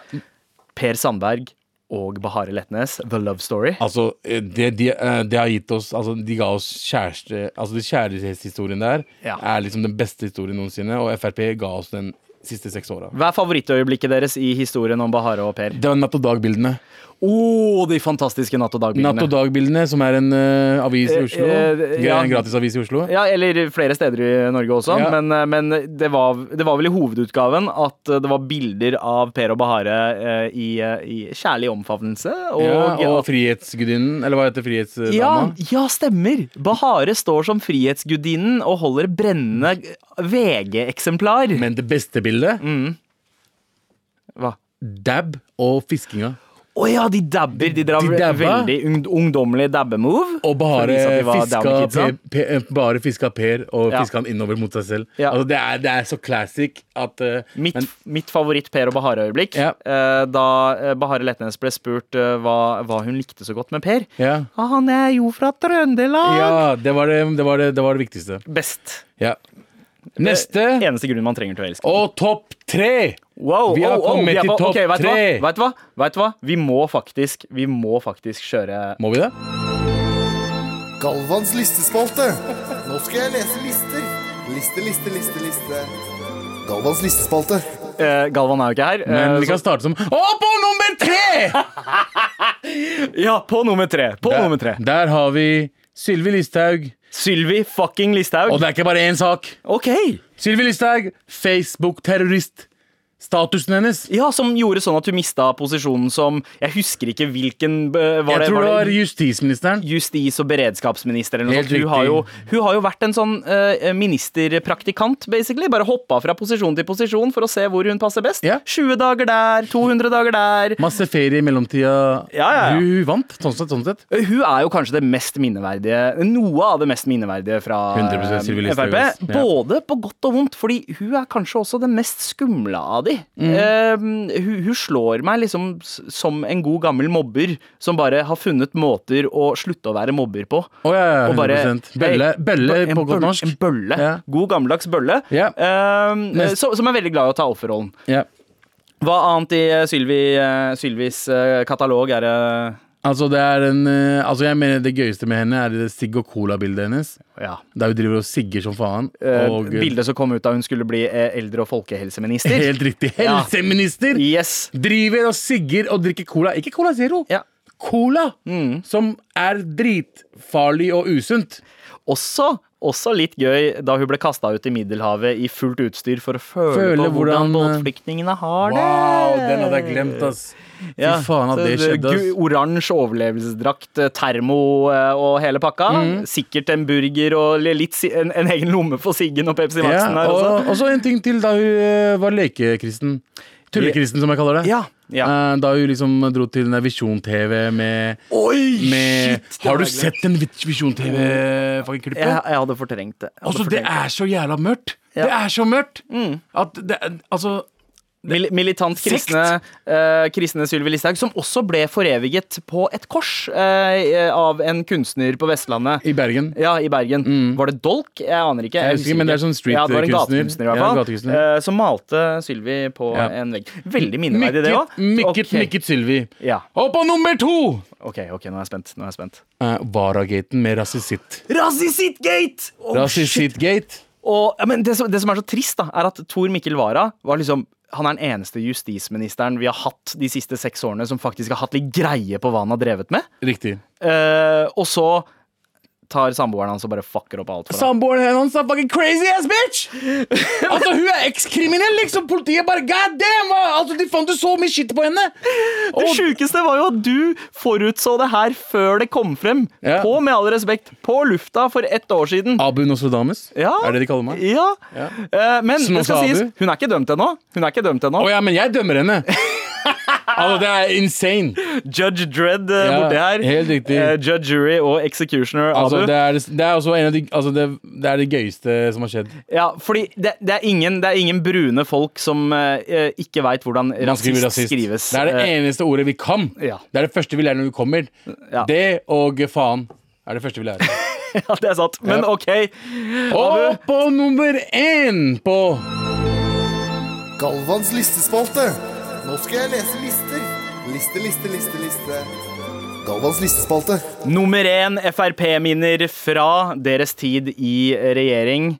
Per Sandberg og Bahare Letnes, The Love Story.
altså eh, det, de, eh, det har gitt oss Altså de ga oss kjæreste Altså den kjærlighetshistorien der
Ja.
er liksom den beste historien noensinne, og Frp ga oss den siste seks åra.
Hva er favorittøyeblikket deres i historien om Bahare og Per?
Det var Natt og Dag-bildene.
Å, de fantastiske Natt og dag-bildene.
Natt og Dag-bildene, som er en eh, avis i
Eh,
Oslo.
eh,
Gre-
ja. Eh,
En gratis avis i Oslo.
Ja, eller flere steder i Norge også.
Ja.
Men, eh, men det, var, det var vel i hovedutgaven at det var bilder av Per og Bahare eh, i, eh, i kjærlig omfavnelse. Og,
Ja, og Frihetsgudinnen, eller hva heter Frihetsdama?
ja, ja, stemmer! Bahare står som frihetsgudinnen og holder brennende VG-eksemplar.
Men det beste bildet,
Mm. Hva?
dab og fiskinga.
Å ja, de dabber! De drar
De dabba.
veldig ung, ungdommelig dabbe-move.
Og
For å
bare
vise at de var
fiska,
damekidsa.
per, per, eh, bare fiska Per, og
Ja.
fiska han innover mot seg selv.
Ja.
Altså, det, er, det er så classic at eh,
Mitt,
men,
mitt favoritt Per og Bahare-øyeblikk
Ja.
eh, da eh, Bahare Letnes ble spurt eh, hva, hva hun likte så godt med Per.
ja.
Ah, Han er jo fra Trøndelag!
ja, det var det, det, var det, det var det viktigste.
Best.
Ja. Neste
Eneste grunn man trenger til å elske.
og topp tre!
Wow, oh,
Vi har kommet
vi er
til
på-
topp
ok, vet du hva?
tre.
Vet du hva? Vet du hva? Vi må faktisk, vi må faktisk kjøre
Må vi det?
Galvans listespalte. Nå skal jeg lese lister. Liste, liste, liste, liste. Galvans listespalte.
eh, Galvan er jo ikke her.
Men
eh,
vi kan
så-
starte som Å, på nummer tre!
ja, på nummer tre. På nummer tre.
Der har vi Sylvi Listhaug.
Sylvi fucking Listhaug.
Og det er ikke bare én sak.
OK!
Sylvi Listhaug, Facebook-terrorist. Statusen hennes
Ja, som gjorde sånn at du mista posisjonen som Jeg husker ikke hvilken eh, var
Jeg
det,
tror det
var
var justisministeren.
justis- og beredskapsminister eller noe
Helt
sånt. Hun
riktig.
har, jo, hun har jo vært en sånn eh, ministerpraktikant, basically. Bare hoppa fra posisjon til posisjon for å se hvor hun passer best.
Ja.
20 dager der, 200 dager der.
Masse ferie i mellomtida.
Ja, ja, ja.
Hun, hun vant, sånn sett. Sånn sett.
Hun er jo kanskje det mest minneverdige Noe av det mest minneverdige fra
100%
eh,
Sylvi Listhaug,
Frp.
ass. Ja.
Både på godt og vondt, fordi hun er kanskje også den mest skumle av de. modig. Eh, hun, hun slår meg liksom s- som en god gammel mobber som bare har funnet måter å slutte å være mobber på.
Å, ja, ja,
Og bare-
100%. Bølle- bølle
en
på godt
bølle-
norsk.
En bølle.
Ja.
God gammeldags bølle.
Ja.
Eh,
Neste.
så, som er veldig glad i å ta offerrollen.
Ja.
Hva annet i eh, Sylvi, eh, Sylvis eh, katalog er det
Altså, det er en eh, Altså, jeg mener det gøyeste med henne er det sigg og cola-bildet hennes.
ja.
Der hun driver og sigger som faen.
eh,
Og
bildet som kom ut da hun skulle bli eh, eldre- og folkehelseminister.
Helt riktig.
Ja.
Helseminister!
Yes.
Driver og sigger og drikker cola. Ikke Cola Zero.
Ja.
Cola! Som er dritfarlig og usunt.
Også, også litt gøy da hun ble kasta ut i Middelhavet i fullt utstyr for å føle,
Føle
på hvordan,
hvordan, eh,
båtflyktningene har det.
Wow, den hadde jeg glemt, ass.
Ja,
Fy faen at det
så
skjedde,
gu-
ass.
Oransje overlevelsesdrakt, eh, termo eh, og hele pakka.
Mm.
Sikkert en burger og li- litt, si- en, en egen lomme for Siggen og Pepsi
Ja,
Maxen her også.
og, og så en ting til da hun eh, var lekekristen. Tullekristen, som jeg kaller det.
Ja, ja.
Eh, Da hun liksom dro til den der Visjon-TV med,
Oi,
med
shit! det
Har du
hadde jeg
sett den Visjon-TV-klippet?
Jeg, jeg hadde fortrengt det. Jeg hadde
Altså, det
fortrengt
er så jævla mørkt!
Ja. Mm.
Det er så mørkt! At det er Altså
Mil militant kristne, eh, kristne Sylvi Listhaug, som også ble foreviget på et kors eh, av en kunstner på Vestlandet.
I Bergen.
Ja, i Bergen. Var det Dolk? Jeg aner ikke.
Jeg husker ikke, men det er sånn street-
Ja, det var en
kunstner.
gatekunstner i hvert
Ja,
fall.
gatekunstner.
eh, som malte Sylvi på
Ja.
en vegg. Veldig minneverdig, det
Mykket,
òg.
mykket, mykket Sylvi.
Ja.
Og på nummer to!
OK, ok, nå er jeg spent. Nå er jeg spent.
Eh, Varagaten med Rasisitt.
Rasisittgate! Oh, shit.
Rasisittgate.
Og, ja, men det, som, det som er så trist, da, er at Tor Mikkel Wara var liksom han er den eneste justisministeren vi har hatt de siste seks årene som faktisk har hatt litt greie på hva han har drevet med.
Riktig.
Eh, og så tar samboeren hans og bare fucker opp alt for ham.
Samboeren hennes er fucking crazy ass bitch! Altså Hun er ekskriminell, liksom. Politiet bare God damn! hva- Altså, de fant jo så mye shit på henne.
Det
Og,
sjukeste var jo at du forutså det her før det kom frem.
Ja.
På Med all respekt, på lufta for ett år siden.
Abu Nostradamus?
Ja.
Er det de kaller meg?
Ja. Eh, men
Som
det skal
også
sies,
Abu.
hun er ikke dømt ennå. Hun er ikke dømt ennå.
Å ja, men jeg dømmer henne. altså, det er insane.
Judge Dredd eh,
Ja,
borti her.
helt riktig.
Eh, judge Jury og Executioner Abu.
Altså, det, er, det er også en av de Altså, det, det er det gøyeste som har skjedd.
Ja, fordi det, det, er ingen, det er ingen brune folk som eh, ikke veit hvordan
Man
rasist,
skriver rasist.
skrives.
Det er det
Eh,
eneste ordet vi kan.
ja.
Det er det første vi lærer når vi kommer.
Ja.
Det og faen er det første vi lærer.
ja, det er sant. Men
Ja.
OK.
Og på nummer én på
Galvans listespalte. Nå skal jeg lese lister. Liste, liste, liste, liste. Galvans listespalte.
Nummer én Frp-minner fra deres tid i regjering.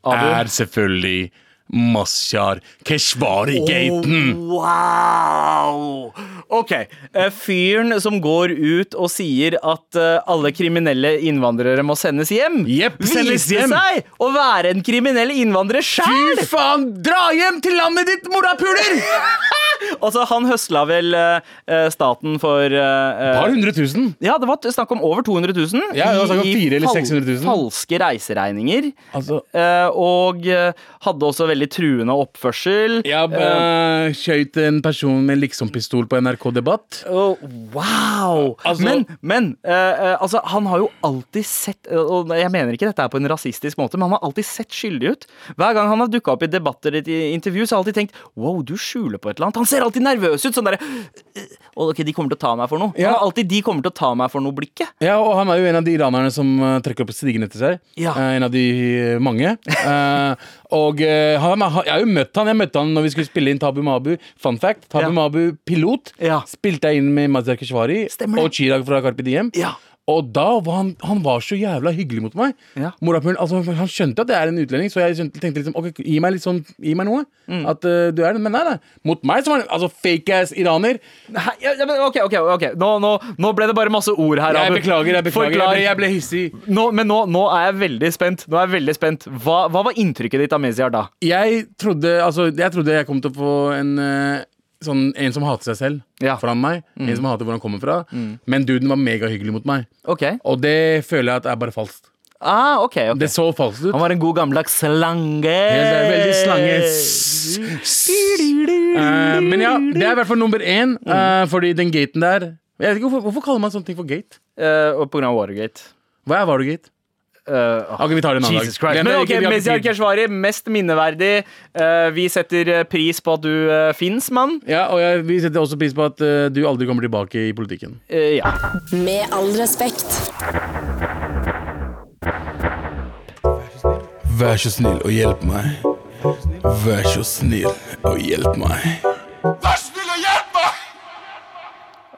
Abu.
selvfølgelig Masjar Keshvari-gaten.
Oh, Wow! OK. eh, Fyren som går ut og sier at eh, alle kriminelle innvandrere må sendes hjem,
Jepp, sendes
viste
hjem.
seg å være en kriminell innvandrer sjæl!
Fy faen! Dra hjem til landet ditt, morapuler!
Altså, han høsla vel eh, eh, staten for eh, eh,
Par hundre tusen.
ja, det var snakk om over 200 000
Ja, det var snakk
i-
om
i
400 eller
fal-
600 000.
falske reiseregninger.
Altså
Eh, og eh, hadde også veldig truende oppførsel.
Jeg eh, skjøt en person med liksompistol på NRK Debatt.
Oh, wow!
Altså-
men men eh, eh, altså, han har jo alltid sett eh, Og jeg mener ikke dette er på en rasistisk måte, men han har alltid sett skyldig ut. Hver gang han har dukka opp i debatter i intervju, så har jeg alltid tenkt Wow, du skjuler på et eller annet. Han ser alltid nervøs ut. Sånn derre «Øh, Ok, de kommer til å ta meg for noe.
Ja.
Han har alltid de kommer til å ta meg for noe-blikket.
Ja, og han er jo en av de iranerne som eh, trekker opp stigen etter seg.
Ja.
Eh, en av de eh, mange. Eh, og eh, han, han, jeg har jo møtt han Jeg møtte han når vi skulle spille inn Tabu Mabu. Fun fact. Tabu
Ja.
Mabu pilot
Ja.
spilte jeg inn med Mazar Keshvari
Stemmer det.
og Chirag fra Carpe Diem.
Ja.
Og da var han, han var så jævla hyggelig mot meg.
Ja.
Morapulen, altså, han skjønte at jeg er en utlending, så jeg skjønte, tenkte liksom ok, gi meg litt sånn, gi meg noe.
Mm.
At eh, du er det. Men nei, nei. Mot meg som var han altså, fake ass iraner.
Hæ? Ja, ja, men, ok, ok, ok. Nå, nå, nå ble det bare masse ord her.
Jeg
Abu.
beklager, jeg beklager. Jeg
Forklar.
ble, jeg ble hissig.
Nå, men nå, nå er jeg veldig spent. Nå er jeg veldig spent. Hva, hva var inntrykket ditt av Meziar da?
jeg trodde, altså, jeg trodde jeg kom til å få en eh, Sånn, en som hater seg selv
Ja. Mm.
foran meg. En som hater hvor han kommer fra. Men duden var megahyggelig mot meg.
Ok.
Og det føler jeg at er bare falskt.
Ah, ok, ok.
Det så falskt ut.
Han var en god gammeldags slange.
Helt, eh, veldig slange. S- s- Eh,
Um,
men ja, det er i hvert fall nummer én.
Mm.
eh, fordi den gaten der Jeg vet ikke, Hvorfor, hvorfor kaller man sånne ting for gate?
Eh, og på grunn av Watergate.
Hva er Watergate?
eh,
Ok, vi tar det en annen
Jesus
dag.
Christ.
Den
Men
er
ok,
ikke- vi har ikke
Mesiar
tid.
Keshvari, mest minneverdig. Eh, vi setter eh, pris på at du uh, fins, mann.
Ja, og jeg, Vi setter også pris på at eh, du aldri kommer tilbake i politikken.
Eh, ja.
Med all respekt.
Vær så snill og hjelp meg. Vær så snill og hjelp meg.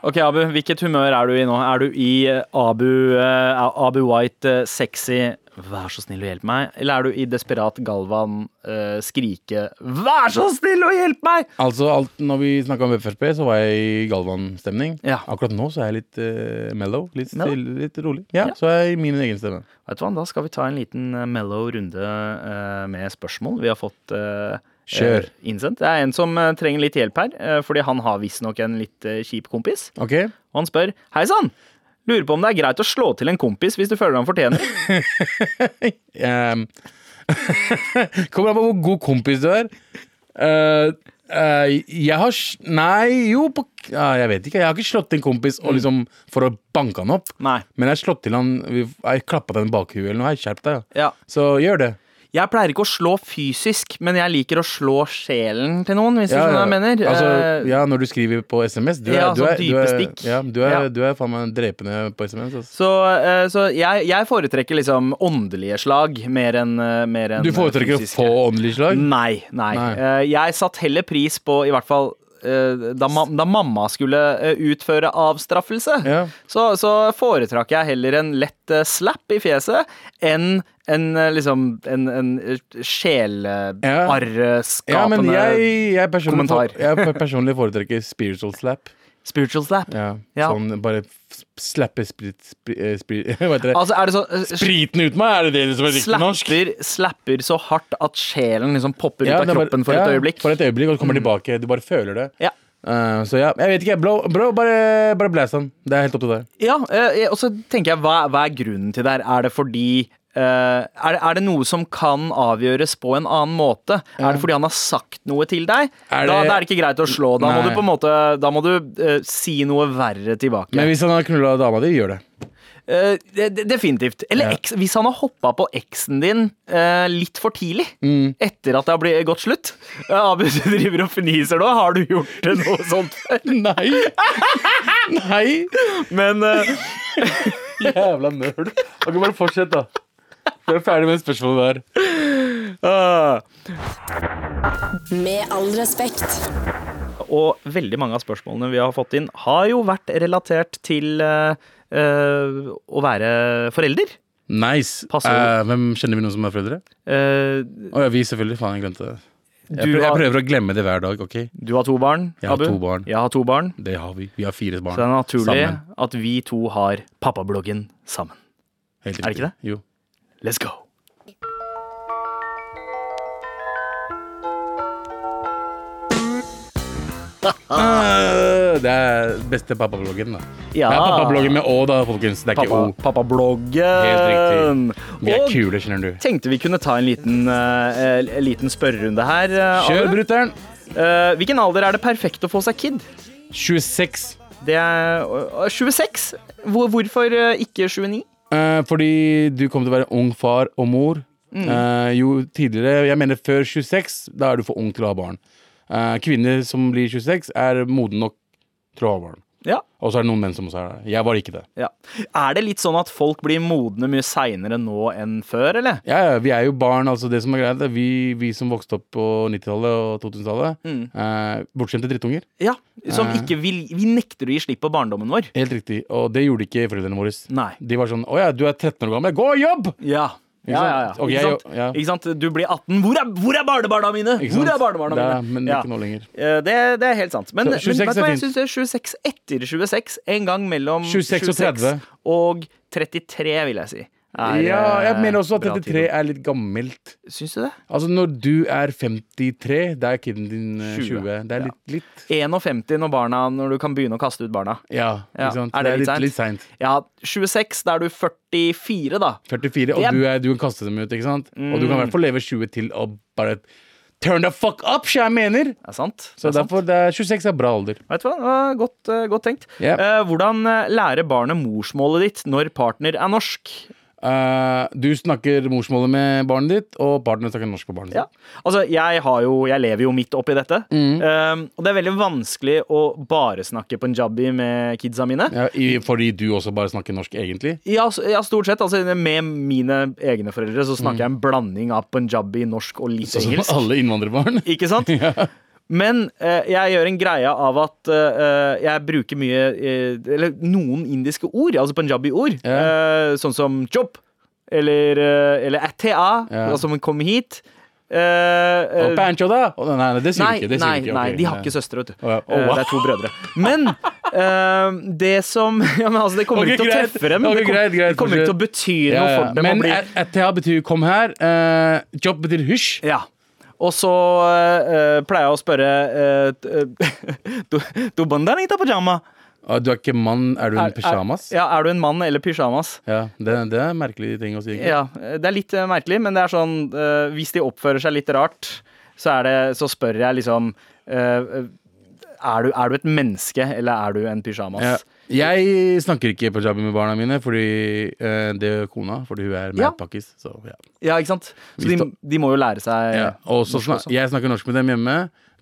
Ok, Abu, hvilket humør er du i nå? Er du i eh, Abu, eh, Abu White, eh, sexy, vær så snill og hjelp meg? Eller er du i desperat Galvan, eh, skrike, vær så snill og hjelp meg?
Altså, alt, når vi snakka om Frp, så var jeg i Galvan-stemning.
Ja.
Akkurat nå så er jeg litt eh, mellow. Litt,
Mellow?
stille, litt rolig. Ja,
Ja.
Så er jeg i min egen stemme.
Vet du hva, da skal vi ta en liten eh, mellow runde eh, med spørsmål. Vi har fått eh,
Kjør.
eh, innsendt. Det er en som eh, trenger litt hjelp her, eh, fordi han har visstnok en litt eh, kjip kompis.
Ok?
Og han spør, hei sann, lurer på om det er greit å slå til en kompis hvis du føler han fortjener.
Ehm, kommer an på hvor god kompis du er. Eh, eh, jeg har s- Nei, jo på, ja, Jeg vet ikke. Jeg har ikke slått til en kompis
Mm.
og liksom, for å banke han opp.
Nei.
Men jeg har slått til han vi- Jeg klappa den bakhuet eller noe. Hei, Skjerp deg.
Ja.
Så gjør det.
Jeg pleier ikke å slå fysisk, men jeg liker å slå sjelen til noen, hvis du
Ja,
skjønner hva
ja.
jeg mener.
Altså,
Eh,
ja, når du skriver på SMS. Du er,
Ja,
du
sånn
er, du
dype
er,
stikk.
Ja, du er,
Ja.
du er faen meg drepende på SMS. ass.
Så, eh, så jeg, jeg foretrekker liksom åndelige slag mer enn eh, mer enn
Du foretrekker å
fysiske.
få åndelig slag?
Nei, nei.
Nei.
Eh, Jeg satt heller pris på, i hvert fall eh, da, ma da mamma skulle eh, utføre avstraffelse,
Ja.
så, så foretrakk jeg heller en lett eh, slap i fjeset enn en, eh, liksom, en, en
Ja.
sjelearrskapende
Ja, men jeg, jeg, personlig,
eh, kommentar.
jeg per- personlig foretrekker spiritual slap.
spiritual slap.
Ja,
Ja.
Sånn bare f- slappe sprit, spri- eh, spri- Hva heter det?
Altså, er det sånn eh,
Spriten ut meg, er det det som er riktig norsk?
Slapper, slapper så hardt at sjelen liksom popper ut
Ja,
av
det er bare-
kroppen for
ja,
et øyeblikk. Mm.
For et øyeblikk, og så kommer tilbake. Du bare føler det.
Ja.
Eh, så ja, jeg vet ikke. Bro, bro bare, bare blæs han. Det er helt opp til deg.
Ja, eh, og så tenker jeg, hva, hva er grunnen til det her? Er det fordi eh, er, det, er det noe som kan avgjøres på en annen måte? Er det fordi han har sagt noe til deg?
Er
da,
det-
da er det ikke greit å slå. Da må
Nei.
du på en måte Da må du eh, si noe verre tilbake.
Men hvis han har knulla dama di, gjør det.
Eh, de- de- definitivt. Eller
Ja.
eks, hvis han har hoppa på eksen din eh, litt for tidlig, etter at det har blitt gått slutt. Eh, Abu, du driver og fniser nå. Har du gjort eh, noe sånt før?
Nei! Nei!
Men eh,
Jævla nerd. Ok, bare fortsett, da. Vi er ferdig med spørsmålet der.
eh,
Med all respekt.
Og veldig mange av spørsmålene vi har fått inn, har jo vært relatert til eh, eh, å være forelder.
Nice.
Pass
Eh,
over.
hvem kjenner vi noen som er foreldre?
Eh,
Å ja, vi selvfølgelig. Faen, jeg glemte det. Jeg,
Du
prøver, jeg
har-
prøver å glemme det hver dag, OK?
du har to barn,
Jeg har
Abu.
to barn.
Jeg har to barn.
Det har vi. Vi har fire barn.
Så det er naturlig
Sammen.
at vi to har pappabloggen sammen.
Helt
det ikke
riktig. Jo.
Let's go! Ah.
Eh, det er beste pappabloggen, da.
Ja.
Det er pappabloggen med Å, da, folkens. Det er
Ah. Pappa,
ikke O.
pappabloggen!
Helt Vi er
Og
kule, skjønner du.
tenkte vi kunne ta en liten, eh, eh, liten spørrerunde her. eh,
Kjør,
Abu.
brutter'n.
Eh, hvilken alder er det perfekt å få seg kid?
26.
Det er øh, øh, 26. Hvor, hvorfor øh, ikke 29?
Eh, fordi du kommer til å være ung far og mor. Eh, jo tidligere Jeg mener før 26, da er du for ung til å ha barn. Eh, kvinner som blir 26, er moden nok til å ha barn.
Ja.
Og så er det noen menn som også er det. Jeg var ikke det.
ja. Er det litt sånn at folk blir modne mye seinere nå enn før, eller?
Ja, ja, vi er jo barn, altså det som er greit er vi, vi som vokste opp på 90-tallet og 2000-tallet. eh, bortskjemte drittunger.
Ja. Som
Eh.
ikke vil Vi nekter å gi slipp på barndommen vår.
Helt riktig. Og det gjorde ikke foreldrene våre.
Nei.
De var sånn 'Å ja, du er 13 år gammel, gå og jobb!'
Ja. Ja, ja, ja.
sant? Ok,
ikke,
jeg-
sant?
ja.
ikke sant? Du blir 18. Hvor er, hvor er barnebarna mine?!
Ikke
Hvor
sant?
er barnebarna
Det er-
mine?
men
Ja.
ikke nå lenger.
Eh, Det, det er helt sant. Men,
Så
men vet
26
du
er
hva, jeg
fint.
syns 26 etter 26, en gang mellom
26 og 30.
og 33, vil jeg si. eh,
ja, jeg mener også at 33 er litt gammelt.
Syns du det?
Altså når du er 53, da er kiden din eh,
20.
20. Det er litt, litt
51 når, barna, når du kan begynne å kaste ut barna.
ja,
Ja,
ikke sant?
er det litt
er
sent?
litt, litt seint.
Ja, 26, da er du 44, da.
44,
Det er-
og du, er, du kan kaste dem ut, ikke sant? Og du kan i hvert fall leve 20 til og bare Turn the fuck up, så jeg mener!
Er sant?
Så
er sant.
derfor det er 26 er bra alder.
Vet du hva? Det var Godt, eh, godt tenkt.
Ja.
Eh, hvordan eh, lære barnet morsmålet ditt når partner er norsk?
Eh, du snakker morsmålet med barnet ditt, og partneren snakker norsk på barnet
Ja.
sitt.
Altså, jeg, har jo, jeg lever jo midt oppi dette.
Mm.
Um, og det er veldig vanskelig å bare snakke punjabi med kidsa mine.
Ja, i, fordi du også bare snakker norsk, egentlig?
Ja, s- ja, stort sett. Altså, med mine egne foreldre så snakker jeg en blanding av punjabi, norsk og litt
Sånn Mm.
engelsk.
som alle innvandrerbarn?
Ikke sant? Men eh, jeg gjør en greie av at eh, jeg bruker mye eh, Eller noen indiske ord, altså punjabi-ord. eh, sånn som chop eller, eh, eller atea,
Ja.
altså man kommer hit. Eh, eh,
Og Pancho, da? Å, nei, nei, det sier
Nei,
du ikke. Det sier
nei,
du ikke. ok.
nei, de har ikke søstre, vet du.
Å, ja. Å,
Eh,
wow.
Det er to brødre. Men eh, det som ja, men altså, Det kommer
Ok,
ikke til å
greit.
treffe dem.
Ok,
det, kom,
greit, greit,
det kommer ikke til å bety noe
Ja, ja.
for dem. å
Men eh,
bli-
at- atea betyr 'kom her'. eh, jobb betyr 'hysj'.
ja. Og så eh, pleier jeg å spørre eh, t- eh, du, du bandanita pajama?
Ah, Du er ikke mann, er du en pysjamas?
Er, ja, er du en mann eller pysjamas?
Ja, det, det er en merkelig ting å si. egentlig.
Ja, Det er litt eh, merkelig, men det er sånn eh, Hvis de oppfører seg litt rart, så, er det, så spør jeg liksom eh, eh, er, du, er du et menneske, eller er du en pysjamas?
Ja. Jeg snakker ikke punjabi med barna mine, fordi eh, det gjør kona. Fordi hun er
Ja.
madpakkis. Så, ja.
Ja, ikke sant? Så de, de må jo lære seg
ja. Og så
norsk
snak,
også.
jeg snakker norsk med dem hjemme.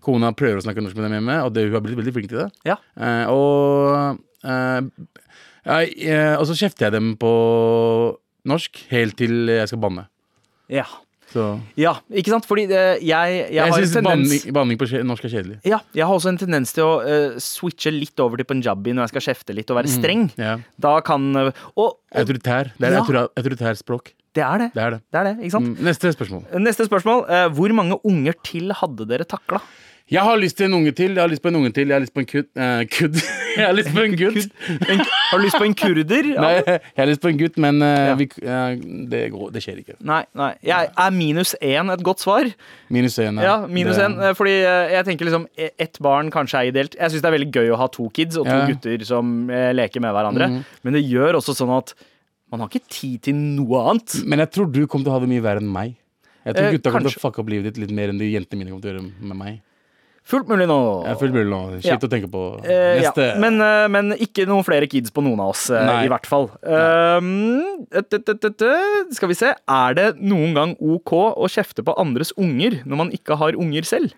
Kona prøver å snakke norsk med dem hjemme, og det, hun har blitt veldig flink til det.
Ja.
Eh, og eh, jeg, eh, og så kjefter jeg dem på norsk helt til jeg skal banne.
Ja.
Så
ja, ikke sant? Fordi eh, jeg, jeg
jeg
har en
syns
tendens
banning, banning på kje- norsk er kjedelig.
ja, jeg har også en tendens til å eh, switche litt over til punjabi når jeg skal kjefte litt og være streng.
Mm. Ja.
Da kan eh, Og, og
Autoritær. Det er
Ja.
autora- autoritær språk.
det er det.
Det er det.
Det er det, ikke sant?
Mm, Neste spørsmål.
Neste spørsmål. eh, hvor mange unger til hadde dere takla?
Jeg har lyst til en unge til, jeg har lyst på en unge til, jeg har lyst på en kutt eh, Kudd. Jeg har lyst på en gutt.
En- Har du lyst på en kurder? Ja.
Nei, jeg har lyst på en gutt, men eh,
Ja.
vi, eh, det, går, det skjer ikke.
Nei, nei. Jeg er minus én et godt svar.
Minus én.
Ja, minus
Det-
én. eh, Fordi eh, jeg tenker liksom eh, ett barn kanskje er ideelt. Jeg syns det er veldig gøy å ha to kids og to
Ja. Mm.
gutter som eh, leker med hverandre. Men det gjør også sånn at man har ikke tid til noe annet.
Men jeg tror du kommer til å ha det mye verre enn meg. Jeg tror
Eh,
gutta kommer
kanskje.
til å fucke opp livet ditt litt mer enn de jentene mine kommer til å gjøre med meg.
Fullt mulig nå.
Jeg er fullt mulig nå. Shit
Ja.
å tenke på.
Eh, ja.
Neste.
men, eh, men ikke noen flere kids på noen av oss, eh,
Nei.
i hvert fall. Um, et, et, et, et, et. Skal vi se. Er det noen gang OK å kjefte på andres unger når man ikke har unger selv?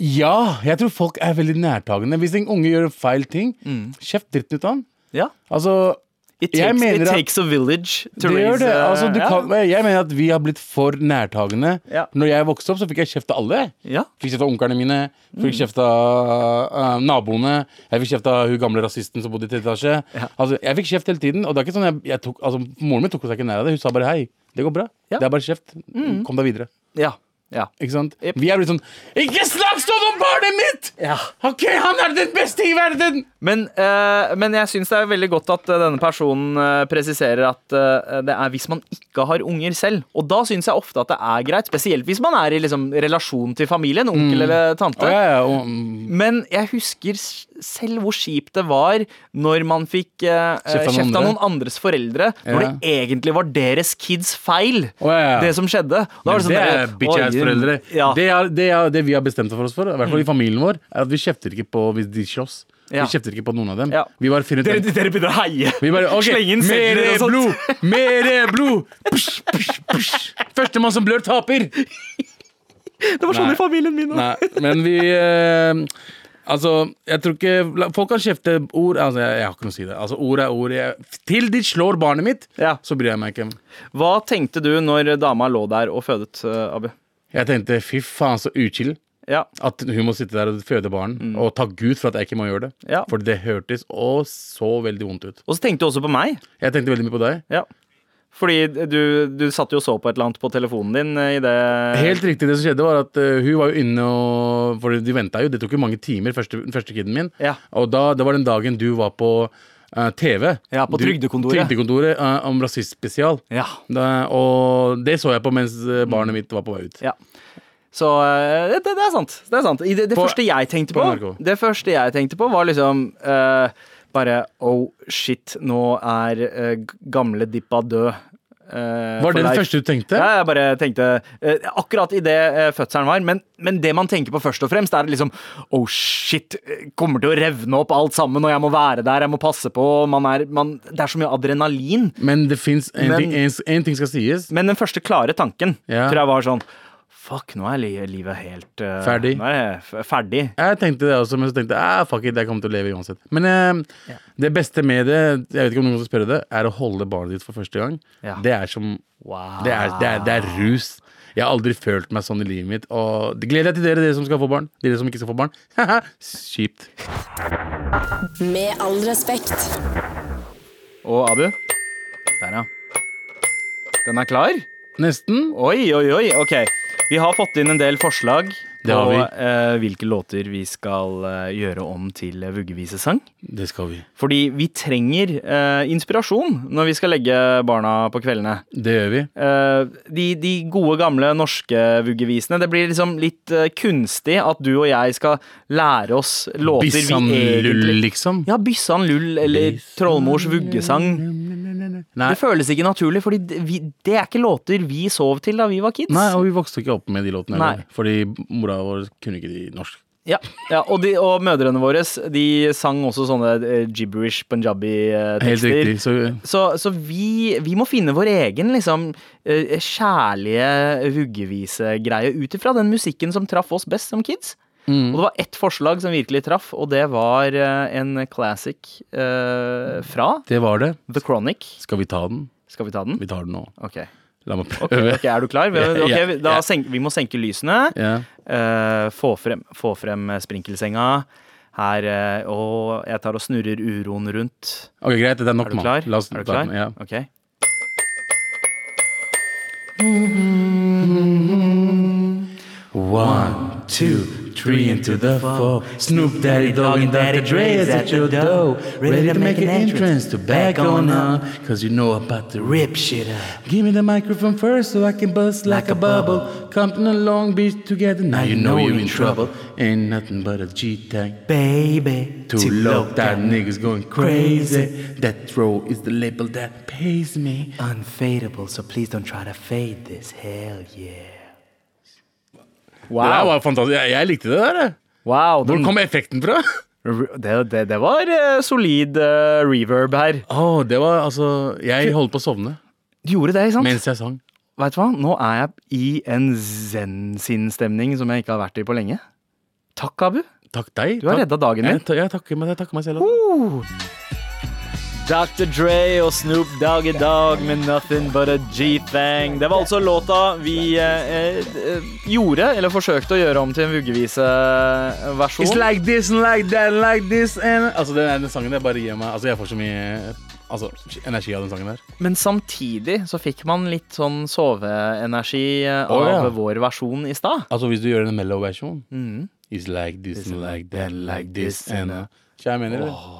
Ja, jeg tror folk er veldig nærtagende. Hvis en unge gjør feil ting,
Mm.
kjeft dritten ut av han.
Ja.
Altså,
It
Jeg
takes,
mener
it
at-
takes a village to
det gjør
raise
det.
eh,
Altså, du
ja.
kan, jeg mener at vi har blitt for nærtagende.
Ja.
Når jeg vokste opp, så fikk jeg kjeft av alle.
Ja.
Fikk kjeft av onkerne mine, fikk
Mm.
kjeft av øh, naboene. Jeg fikk kjeft av hun gamle rasisten som bodde i tredje etasje. Altså, jeg fikk kjeft hele tiden. Og det er ikke sånn jeg, jeg tok, altså, moren min tok seg ikke nær av det. Hun sa bare hei, det går bra.
Ja.
Det er bare kjeft. Kom deg videre.
Ja. Ja.
Ikke sant?
Jep.
Vi er blitt sånn Ikke snakk sånn om barnet mitt!
Ja.
OK, han er den beste i verden!
Men, eh, men jeg syns det er veldig godt at eh, denne personen eh, presiserer at eh, det er hvis man ikke har unger selv. Og da syns jeg ofte at det er greit, spesielt hvis man er i liksom, relasjon til familien. Onkel eller tante.
Å, Mm. ja, ja, og, mm,
Men jeg husker s- selv hvor kjipt det var når man fikk eh,
Kjeft av noen
kjeft av
andre.
noen andres foreldre, når
Ja.
det egentlig var deres kids feil,
Å, ja, ja.
det som skjedde. Da var
Men det
der,
er bitch-ass-foreldre.
oi, Ja. Mm.
Det, er- det, er- det vi har bestemt for oss for, i hvert fall i familien vår, er at vi kjefter ikke på hvis de slåss.
Ja.
Vi kjefter ikke på noen av dem.
Ja.
Vi bare finner ut
Dere, dere begynner å heie.
Vi bare, ok,
Slenge inn
mer
sedler og sånt.
blod! Mer blod! Push, push, push. Førstemann som blør, taper!
Det var sånn
Nei.
i familien min òg.
Nei, men vi eh, Altså, jeg tror ikke la- Folk kan kjefte ord. Altså, jeg, jeg har ikke noe å si det. Altså, Ord er ord. Jeg, til de slår barnet mitt,
Ja.
så bryr jeg meg ikke.
Hva tenkte du når dama lå der og fødet, eh, Abu?
Jeg tenkte fy faen, så uchill.
Ja,
At hun må sitte der og føde barn. Og takk Gud for at jeg ikke må gjøre det.
Mm. Ja.
For det hørtes og så veldig vondt ut.
Og så tenkte du også på meg.
Jeg tenkte veldig mye på deg.
Ja. Fordi du, du satt jo og så på et eller annet på telefonen din eh, i det
Helt riktig, det som skjedde var at eh, hun var jo inne og For de venta jo, det tok jo mange timer, første, første kiden min.
Ja.
Og da, det var den dagen du var på eh, TV.
Ja, på
Du-
Trygdekontoret.
Trygdekontoret eh, om rasistspesial.
Ja.
Da- Og det så jeg på mens eh, barnet mitt var på vei ut.
Mm. Ja. Så eh, det, det er sant. Det, er sant. I det, det
På-
første jeg tenkte på,
på NRK.
Det første jeg tenkte på, var liksom eh, bare Oh shit, nå er eh, g- gamle Dippa død. eh,
Var
for
det det
deg.
første du tenkte?
Ja, jeg bare tenkte eh, Akkurat i det eh, fødselen var. Men, men det man tenker på først og fremst, er liksom Oh shit, eh, kommer til å revne opp alt sammen, og jeg må være der, jeg må passe på. og Man er, man, det er så mye adrenalin.
Men det fins en,
Men-
ting- en, en ting skal sies.
Men den første klare tanken
Ja.
tror jeg var sånn Fuck, nå er li- livet helt eh,
Ferdig.
Nå er jeg f- ferdig.
Jeg tenkte det også, men så tenkte jeg ah, fuck it, jeg kommer til å leve uansett. Men eh, det beste med det, jeg vet ikke om noen skal spørre det, er å holde barnet ditt for første gang.
Ja.
Det er som
Wow.
det, er, det, er, det er rus. Jeg har aldri følt meg sånn i livet mitt. Og det gleder jeg til dere, dere som skal få barn. Dere som ikke skal få barn. Haha, Kjipt.
Med all respekt.
Og Abu. Der, ja. Den er klar?
Nesten.
Oi, oi, oi. Ok. Vi har fått inn en del forslag
Det har
på
vi.
eh, hvilke låter vi skal eh, gjøre om til eh, vuggevisesang.
Det skal vi.
Fordi vi trenger eh, inspirasjon når vi skal legge barna på kveldene.
Det gjør vi.
Eh, de, de gode gamle norske vuggevisene. Det blir liksom litt eh, kunstig at du og jeg skal lære oss låter
Bissan
vi
lull,
egentlig
liksom.
Ja, Byssan lull eller Trollmors vuggesang.
Nei.
Det føles ikke naturlig, for det er ikke låter vi sov til da vi var kids.
Nei, og vi vokste ikke opp med de låtene.
Nei.
heller, Fordi mora vår kunne ikke de norsk.
Ja, ja og, de, og mødrene våre de sang også sånne eh, gibberish
Helt
punjabi-tekster.
riktig. Så eh,
Så, så vi, vi må finne vår egen liksom, eh, kjærlige vuggevisegreie ut ifra den musikken som traff oss best som kids.
Mm.
Og det var ett forslag som virkelig traff, og det var eh, en classic eh, fra
det var det.
The Chronic.
Skal vi ta den?
Skal vi ta den?
Vi tar den nå.
Ok.
La meg
Ok,
prøve.
ok, er du klar?
Ja, ja,
Ok, da
ja.
senk, vi må senke lysene.
Ja.
Eh, få, frem, få frem sprinkelsenga. Her eh, Og jeg tar og snurrer uroen rundt.
Ok, greit. Dette er nok,
Er du
mann.
klar?
La oss
er du klar?
ta den, Ja.
Ok.
One, two, three into the four. Snoop Daddy Dogg and Dr. Dre is at your door. Ready to make an entrance to back on up. Cause you know about the rip shit up. Give me the microphone first so I can bust like a bubble. Compton and Long Beach together. Now you know you're in trouble. Ain't nothing but a G-Tang.
baby.
Too low, that nigga's going crazy. That throw is the label that pays me.
Unfadable, so please don't try to fade this. Hell yeah.
Det der
Wow.
var fantastisk. Jeg, jeg likte det der. jeg.
wow
Hvor
den,
kom effekten fra?
det, det, det var eh, solid eh, reverb her.
Å, det var altså Jeg holdt på å sovne
Du gjorde det, ikke sant?
mens jeg sang.
Vet du hva? Nå er jeg i en zen-sinnsstemning som jeg ikke har vært i på lenge. Takk, Abu.
Takk deg.
Du har
Takk-
redda dagen min.
Jeg, ta- jeg, takker, meg- jeg takker meg selv. altså. også.
Dr. Dre og Snoop Dogg i dag med Nothing But A G-Thang. Det var altså låta vi eh, eh, gjorde, eller forsøkte å gjøre om til en eh,
It's
vuggeviseversjon.
like this and like that and like this and Altså, den, den sangen der bare gir meg Altså, jeg får så mye altså, energi av den sangen der.
Men samtidig så fikk man litt sånn soveenergi eh, av
Å, ja.
vår versjon i stad.
Altså, hvis du gjør en mellow-versjon Mm. It's like this and like that and like this and Hva jeg mener, eller?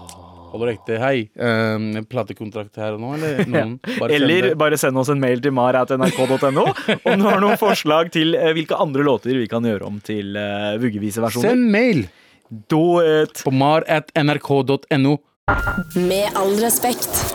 Holder ekte. Hei. Um, platekontrakt her og nå, eller? Noen, bare send
Eller
det.
bare send oss en mail til mar.nrk.no om du har noen forslag til eh, hvilke andre låter vi kan gjøre om til eh, vuggeviseversjoner.
Send mail
Do it!
på mar at nrk.no.
Med all respekt.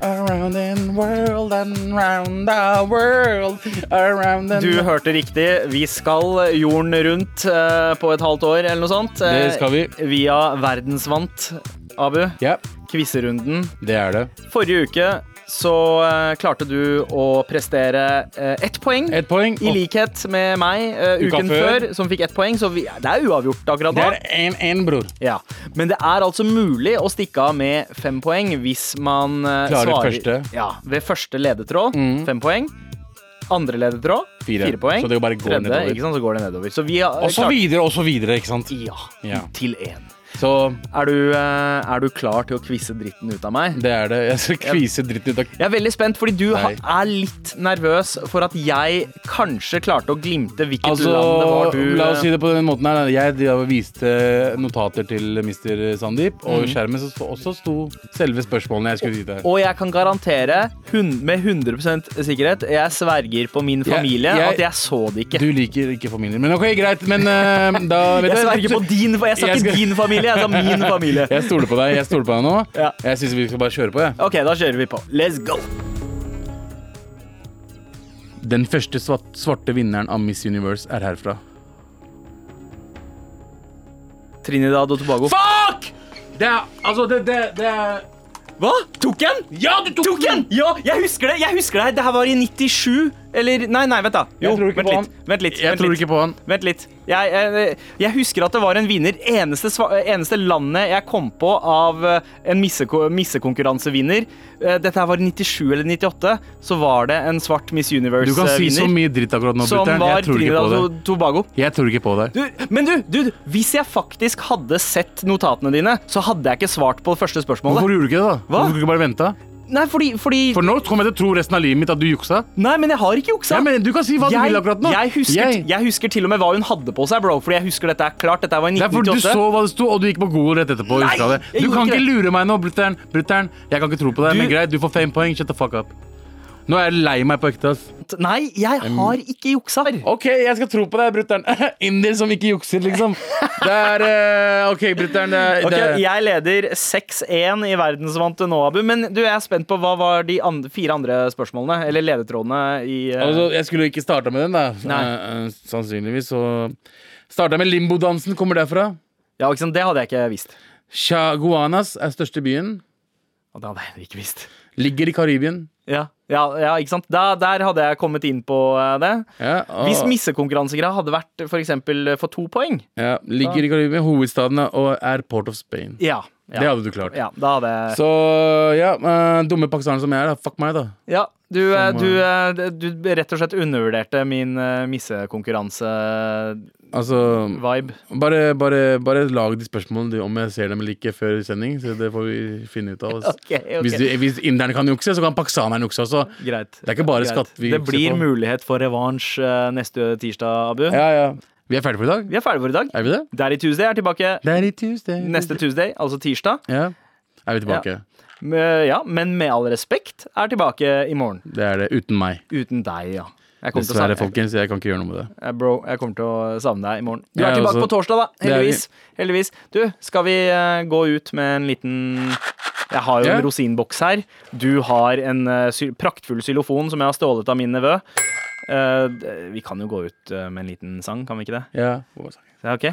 Around the world and round the world. Around the
Du hørte riktig. Vi skal jorden rundt eh, på et halvt år eller noe sånt. Eh,
Det skal vi.
Via verdensvant, Abu.
Ja,
Quizerunden.
det er det.
Forrige uke så eh, klarte du å prestere eh, ett poeng.
Ett poeng.
I
og
likhet med meg eh,
Uka
uken
før.
før, som fikk ett poeng. Så vi, det er uavgjort akkurat
Det
nå.
er én, bror.
Ja. Men det er altså mulig å stikke av med fem poeng hvis man eh,
Klarer
svarer
første. Mm.
Ja, ved første ledetråd. Fem poeng. Andre ledetråd.
Fire.
Fire poeng.
Så det bare går
Tredje,
nedover.
Ikke sant, så går det nedover. Så vi har
Og så videre og så videre, ikke sant.
Ja,
Ja.
til én.
Så
Er du, eh, er du klar til å kvisse dritten ut av meg?
det er det. Jeg skal kvise dritten ut av
Jeg er veldig spent, fordi du ha,
Nei.
er litt nervøs for at jeg kanskje klarte å glimte hvilket
Altså,
land det var du eh?
la oss si det på den måten her. Jeg drev og viste notater til Mr. Sandeep,
Mm.
og i skjermen så også sto selve spørsmålene jeg skulle gi deg.
Og jeg kan garantere hun, med 100 sikkerhet, jeg sverger på min
Jeg-
familie,
jeg-
at jeg så det ikke.
Du liker ikke familier. Men ok, greit. Men eh, da vet
Jeg
du-
sverger på din, for jeg sa
Jeg
ikke
skal-
din familie, familie. Jeg sa min familie.
Jeg stoler på deg jeg stoler på deg nå.
Ja.
Jeg syns vi skal bare kjøre på. Jeg.
Ok, da kjører vi på. Let's go!
Den første svart, svarte vinneren av Miss Universe er herfra.
Trinidad og Tobago.
Fuck! Det er altså det, det, det er
Hva? Tok jeg den?
Ja, du tok,
Tok jeg den? Ja, jeg husker det! jeg husker Det Det her var i 97. Eller Nei, nei, vent, da. Jo,
tror ikke
vent
på
litt.
han.
Vent litt.
Jeg
vent
tror
litt.
ikke på han.
Vent litt. Jeg, eh, jeg husker at det var en vinner. Eneste, sva- eneste landet jeg kom på av eh, en misseko- missekonkurransevinner eh, Dette her var i 97 eller 98. Så var det en svart Miss
Du kan si så
Universe-vinner.
mye dritt akkurat nå,
som
brutter'n.
var
Jeg tror ikke
Trinidad
på det.
og Tobago.
Jeg tror ikke på det.
Du, men du, du, hvis jeg faktisk hadde sett notatene dine, så hadde jeg ikke svart på det første spørsmålet.
Hvorfor gjorde du ikke det, da? Hvorfor kunne du ikke bare vente?
Nei, fordi, fordi
For nå kommer jeg til å tro resten av livet mitt at du juksa.
Nei, men jeg har ikke juksa.
Ja, men du kan si hva du
jeg,
vil akkurat nå.
jeg, husker, jeg.
Jeg-
husker til og med hva hun hadde på seg, bro. Fordi jeg husker dette er klart. Dette var i
Det er fordi du
1998.
så hva det sto, og du gikk på Google rett etterpå. og
Nei,
huska det.
jeg
Du
gjorde
kan
ikke
ikke lure meg nå, brutter'n. Brutter'n, jeg kan ikke tro på deg,
Du-
men greit, du får fem poeng. Shut the fuck up. Nå er jeg lei meg på ekte. ass.
Nei, jeg har ikke juksa.
OK, jeg skal tro på deg, brutter'n. Indier som ikke jukser, liksom. Det er eh, OK, brutter'n. Det, er-
Ok,
det, er-
jeg leder 6-1 i verdensvante nå, Abu. Men du, jeg er spent på hva var de andre, fire andre spørsmålene, eller ledetrådene, i eh,
altså, jeg skulle jo ikke starta med den, da.
Nei.
Eh, eh, sannsynligvis. Så starta jeg med limbodansen. Kommer derfra.
Ja, ikke sant, Det hadde jeg ikke visst.
Chaguanas er største byen.
Og det hadde jeg heller ikke visst.
Ligger i Karibien.
Ja, ja, ja ikke sant? Da, der hadde jeg kommet inn på eh, det.
Ja, og,
Hvis missekonkurransegreia hadde vært for eksempel for to poeng
ja, ligger i Karibien, hovedstaden og er Port of Spain.
Ja,
Det
ja,
hadde du klart.
ja da hadde jeg
Så ja, eh, dumme pakistaner som jeg er, da. Fuck meg, da.
Ja, du, eh,
Som,
du, eh, du rett og slett undervurderte min eh, missekonkurranse-vibe.
Altså, bare, bare, bare lag de spørsmålene de, om jeg ser dem eller ikke før sending. Så det får vi finne ut av. ass.
Ok, ok.
Hvis, du- hvis inderne kan jukse, så kan pakistaneren jukse også.
Greit.
Det er ikke bare
Greit.
skatt vi
Det
jukser
blir
på.
mulighet for revansj eh, neste tirsdag, Abu.
Ja, ja. Vi er ferdige for i dag?
Vi er ferdige for i dag.
Er vi det?
Daddy Tuesday er tilbake
Det er i Tuesday.
neste Tuesday, altså tirsdag.
Ja. Er vi tilbake?
Men- Ja, men med all respekt er tilbake i morgen.
Det er det uten meg.
Uten deg, ja. Jeg kommer til å
Dessverre,
savne-
folkens. Jeg kan ikke gjøre noe med det.
Eh, Bro, jeg kommer til å savne deg i morgen. Du er
Jeg
tilbake
også.
på torsdag, da.
Det er vi.
Heldigvis. Heldigvis. Du, skal vi eh, gå ut med en liten Jeg har jo
Ja.
en rosinboks her. Du har en eh, sy praktfull xylofon som jeg har stjålet av min nevø. Eh, d- vi kan jo gå ut eh, med en liten sang, kan vi ikke det?
Ja.
Ja, ok?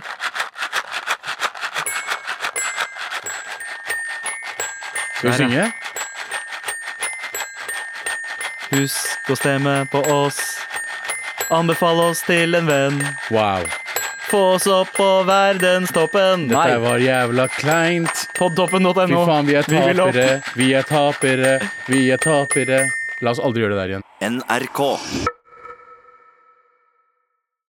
Skal vi
Der,
synge?
Husk å stemme på oss. Anbefale oss til en venn.
Wow.
Få oss opp på verdenstoppen. Nei,
Dette var jævla kleint. Fy
podtoppen.no.
faen, vi er
Vi vil opp.
tapere. Vi er tapere. Vi er tapere. La oss aldri gjøre det der igjen.
NRK.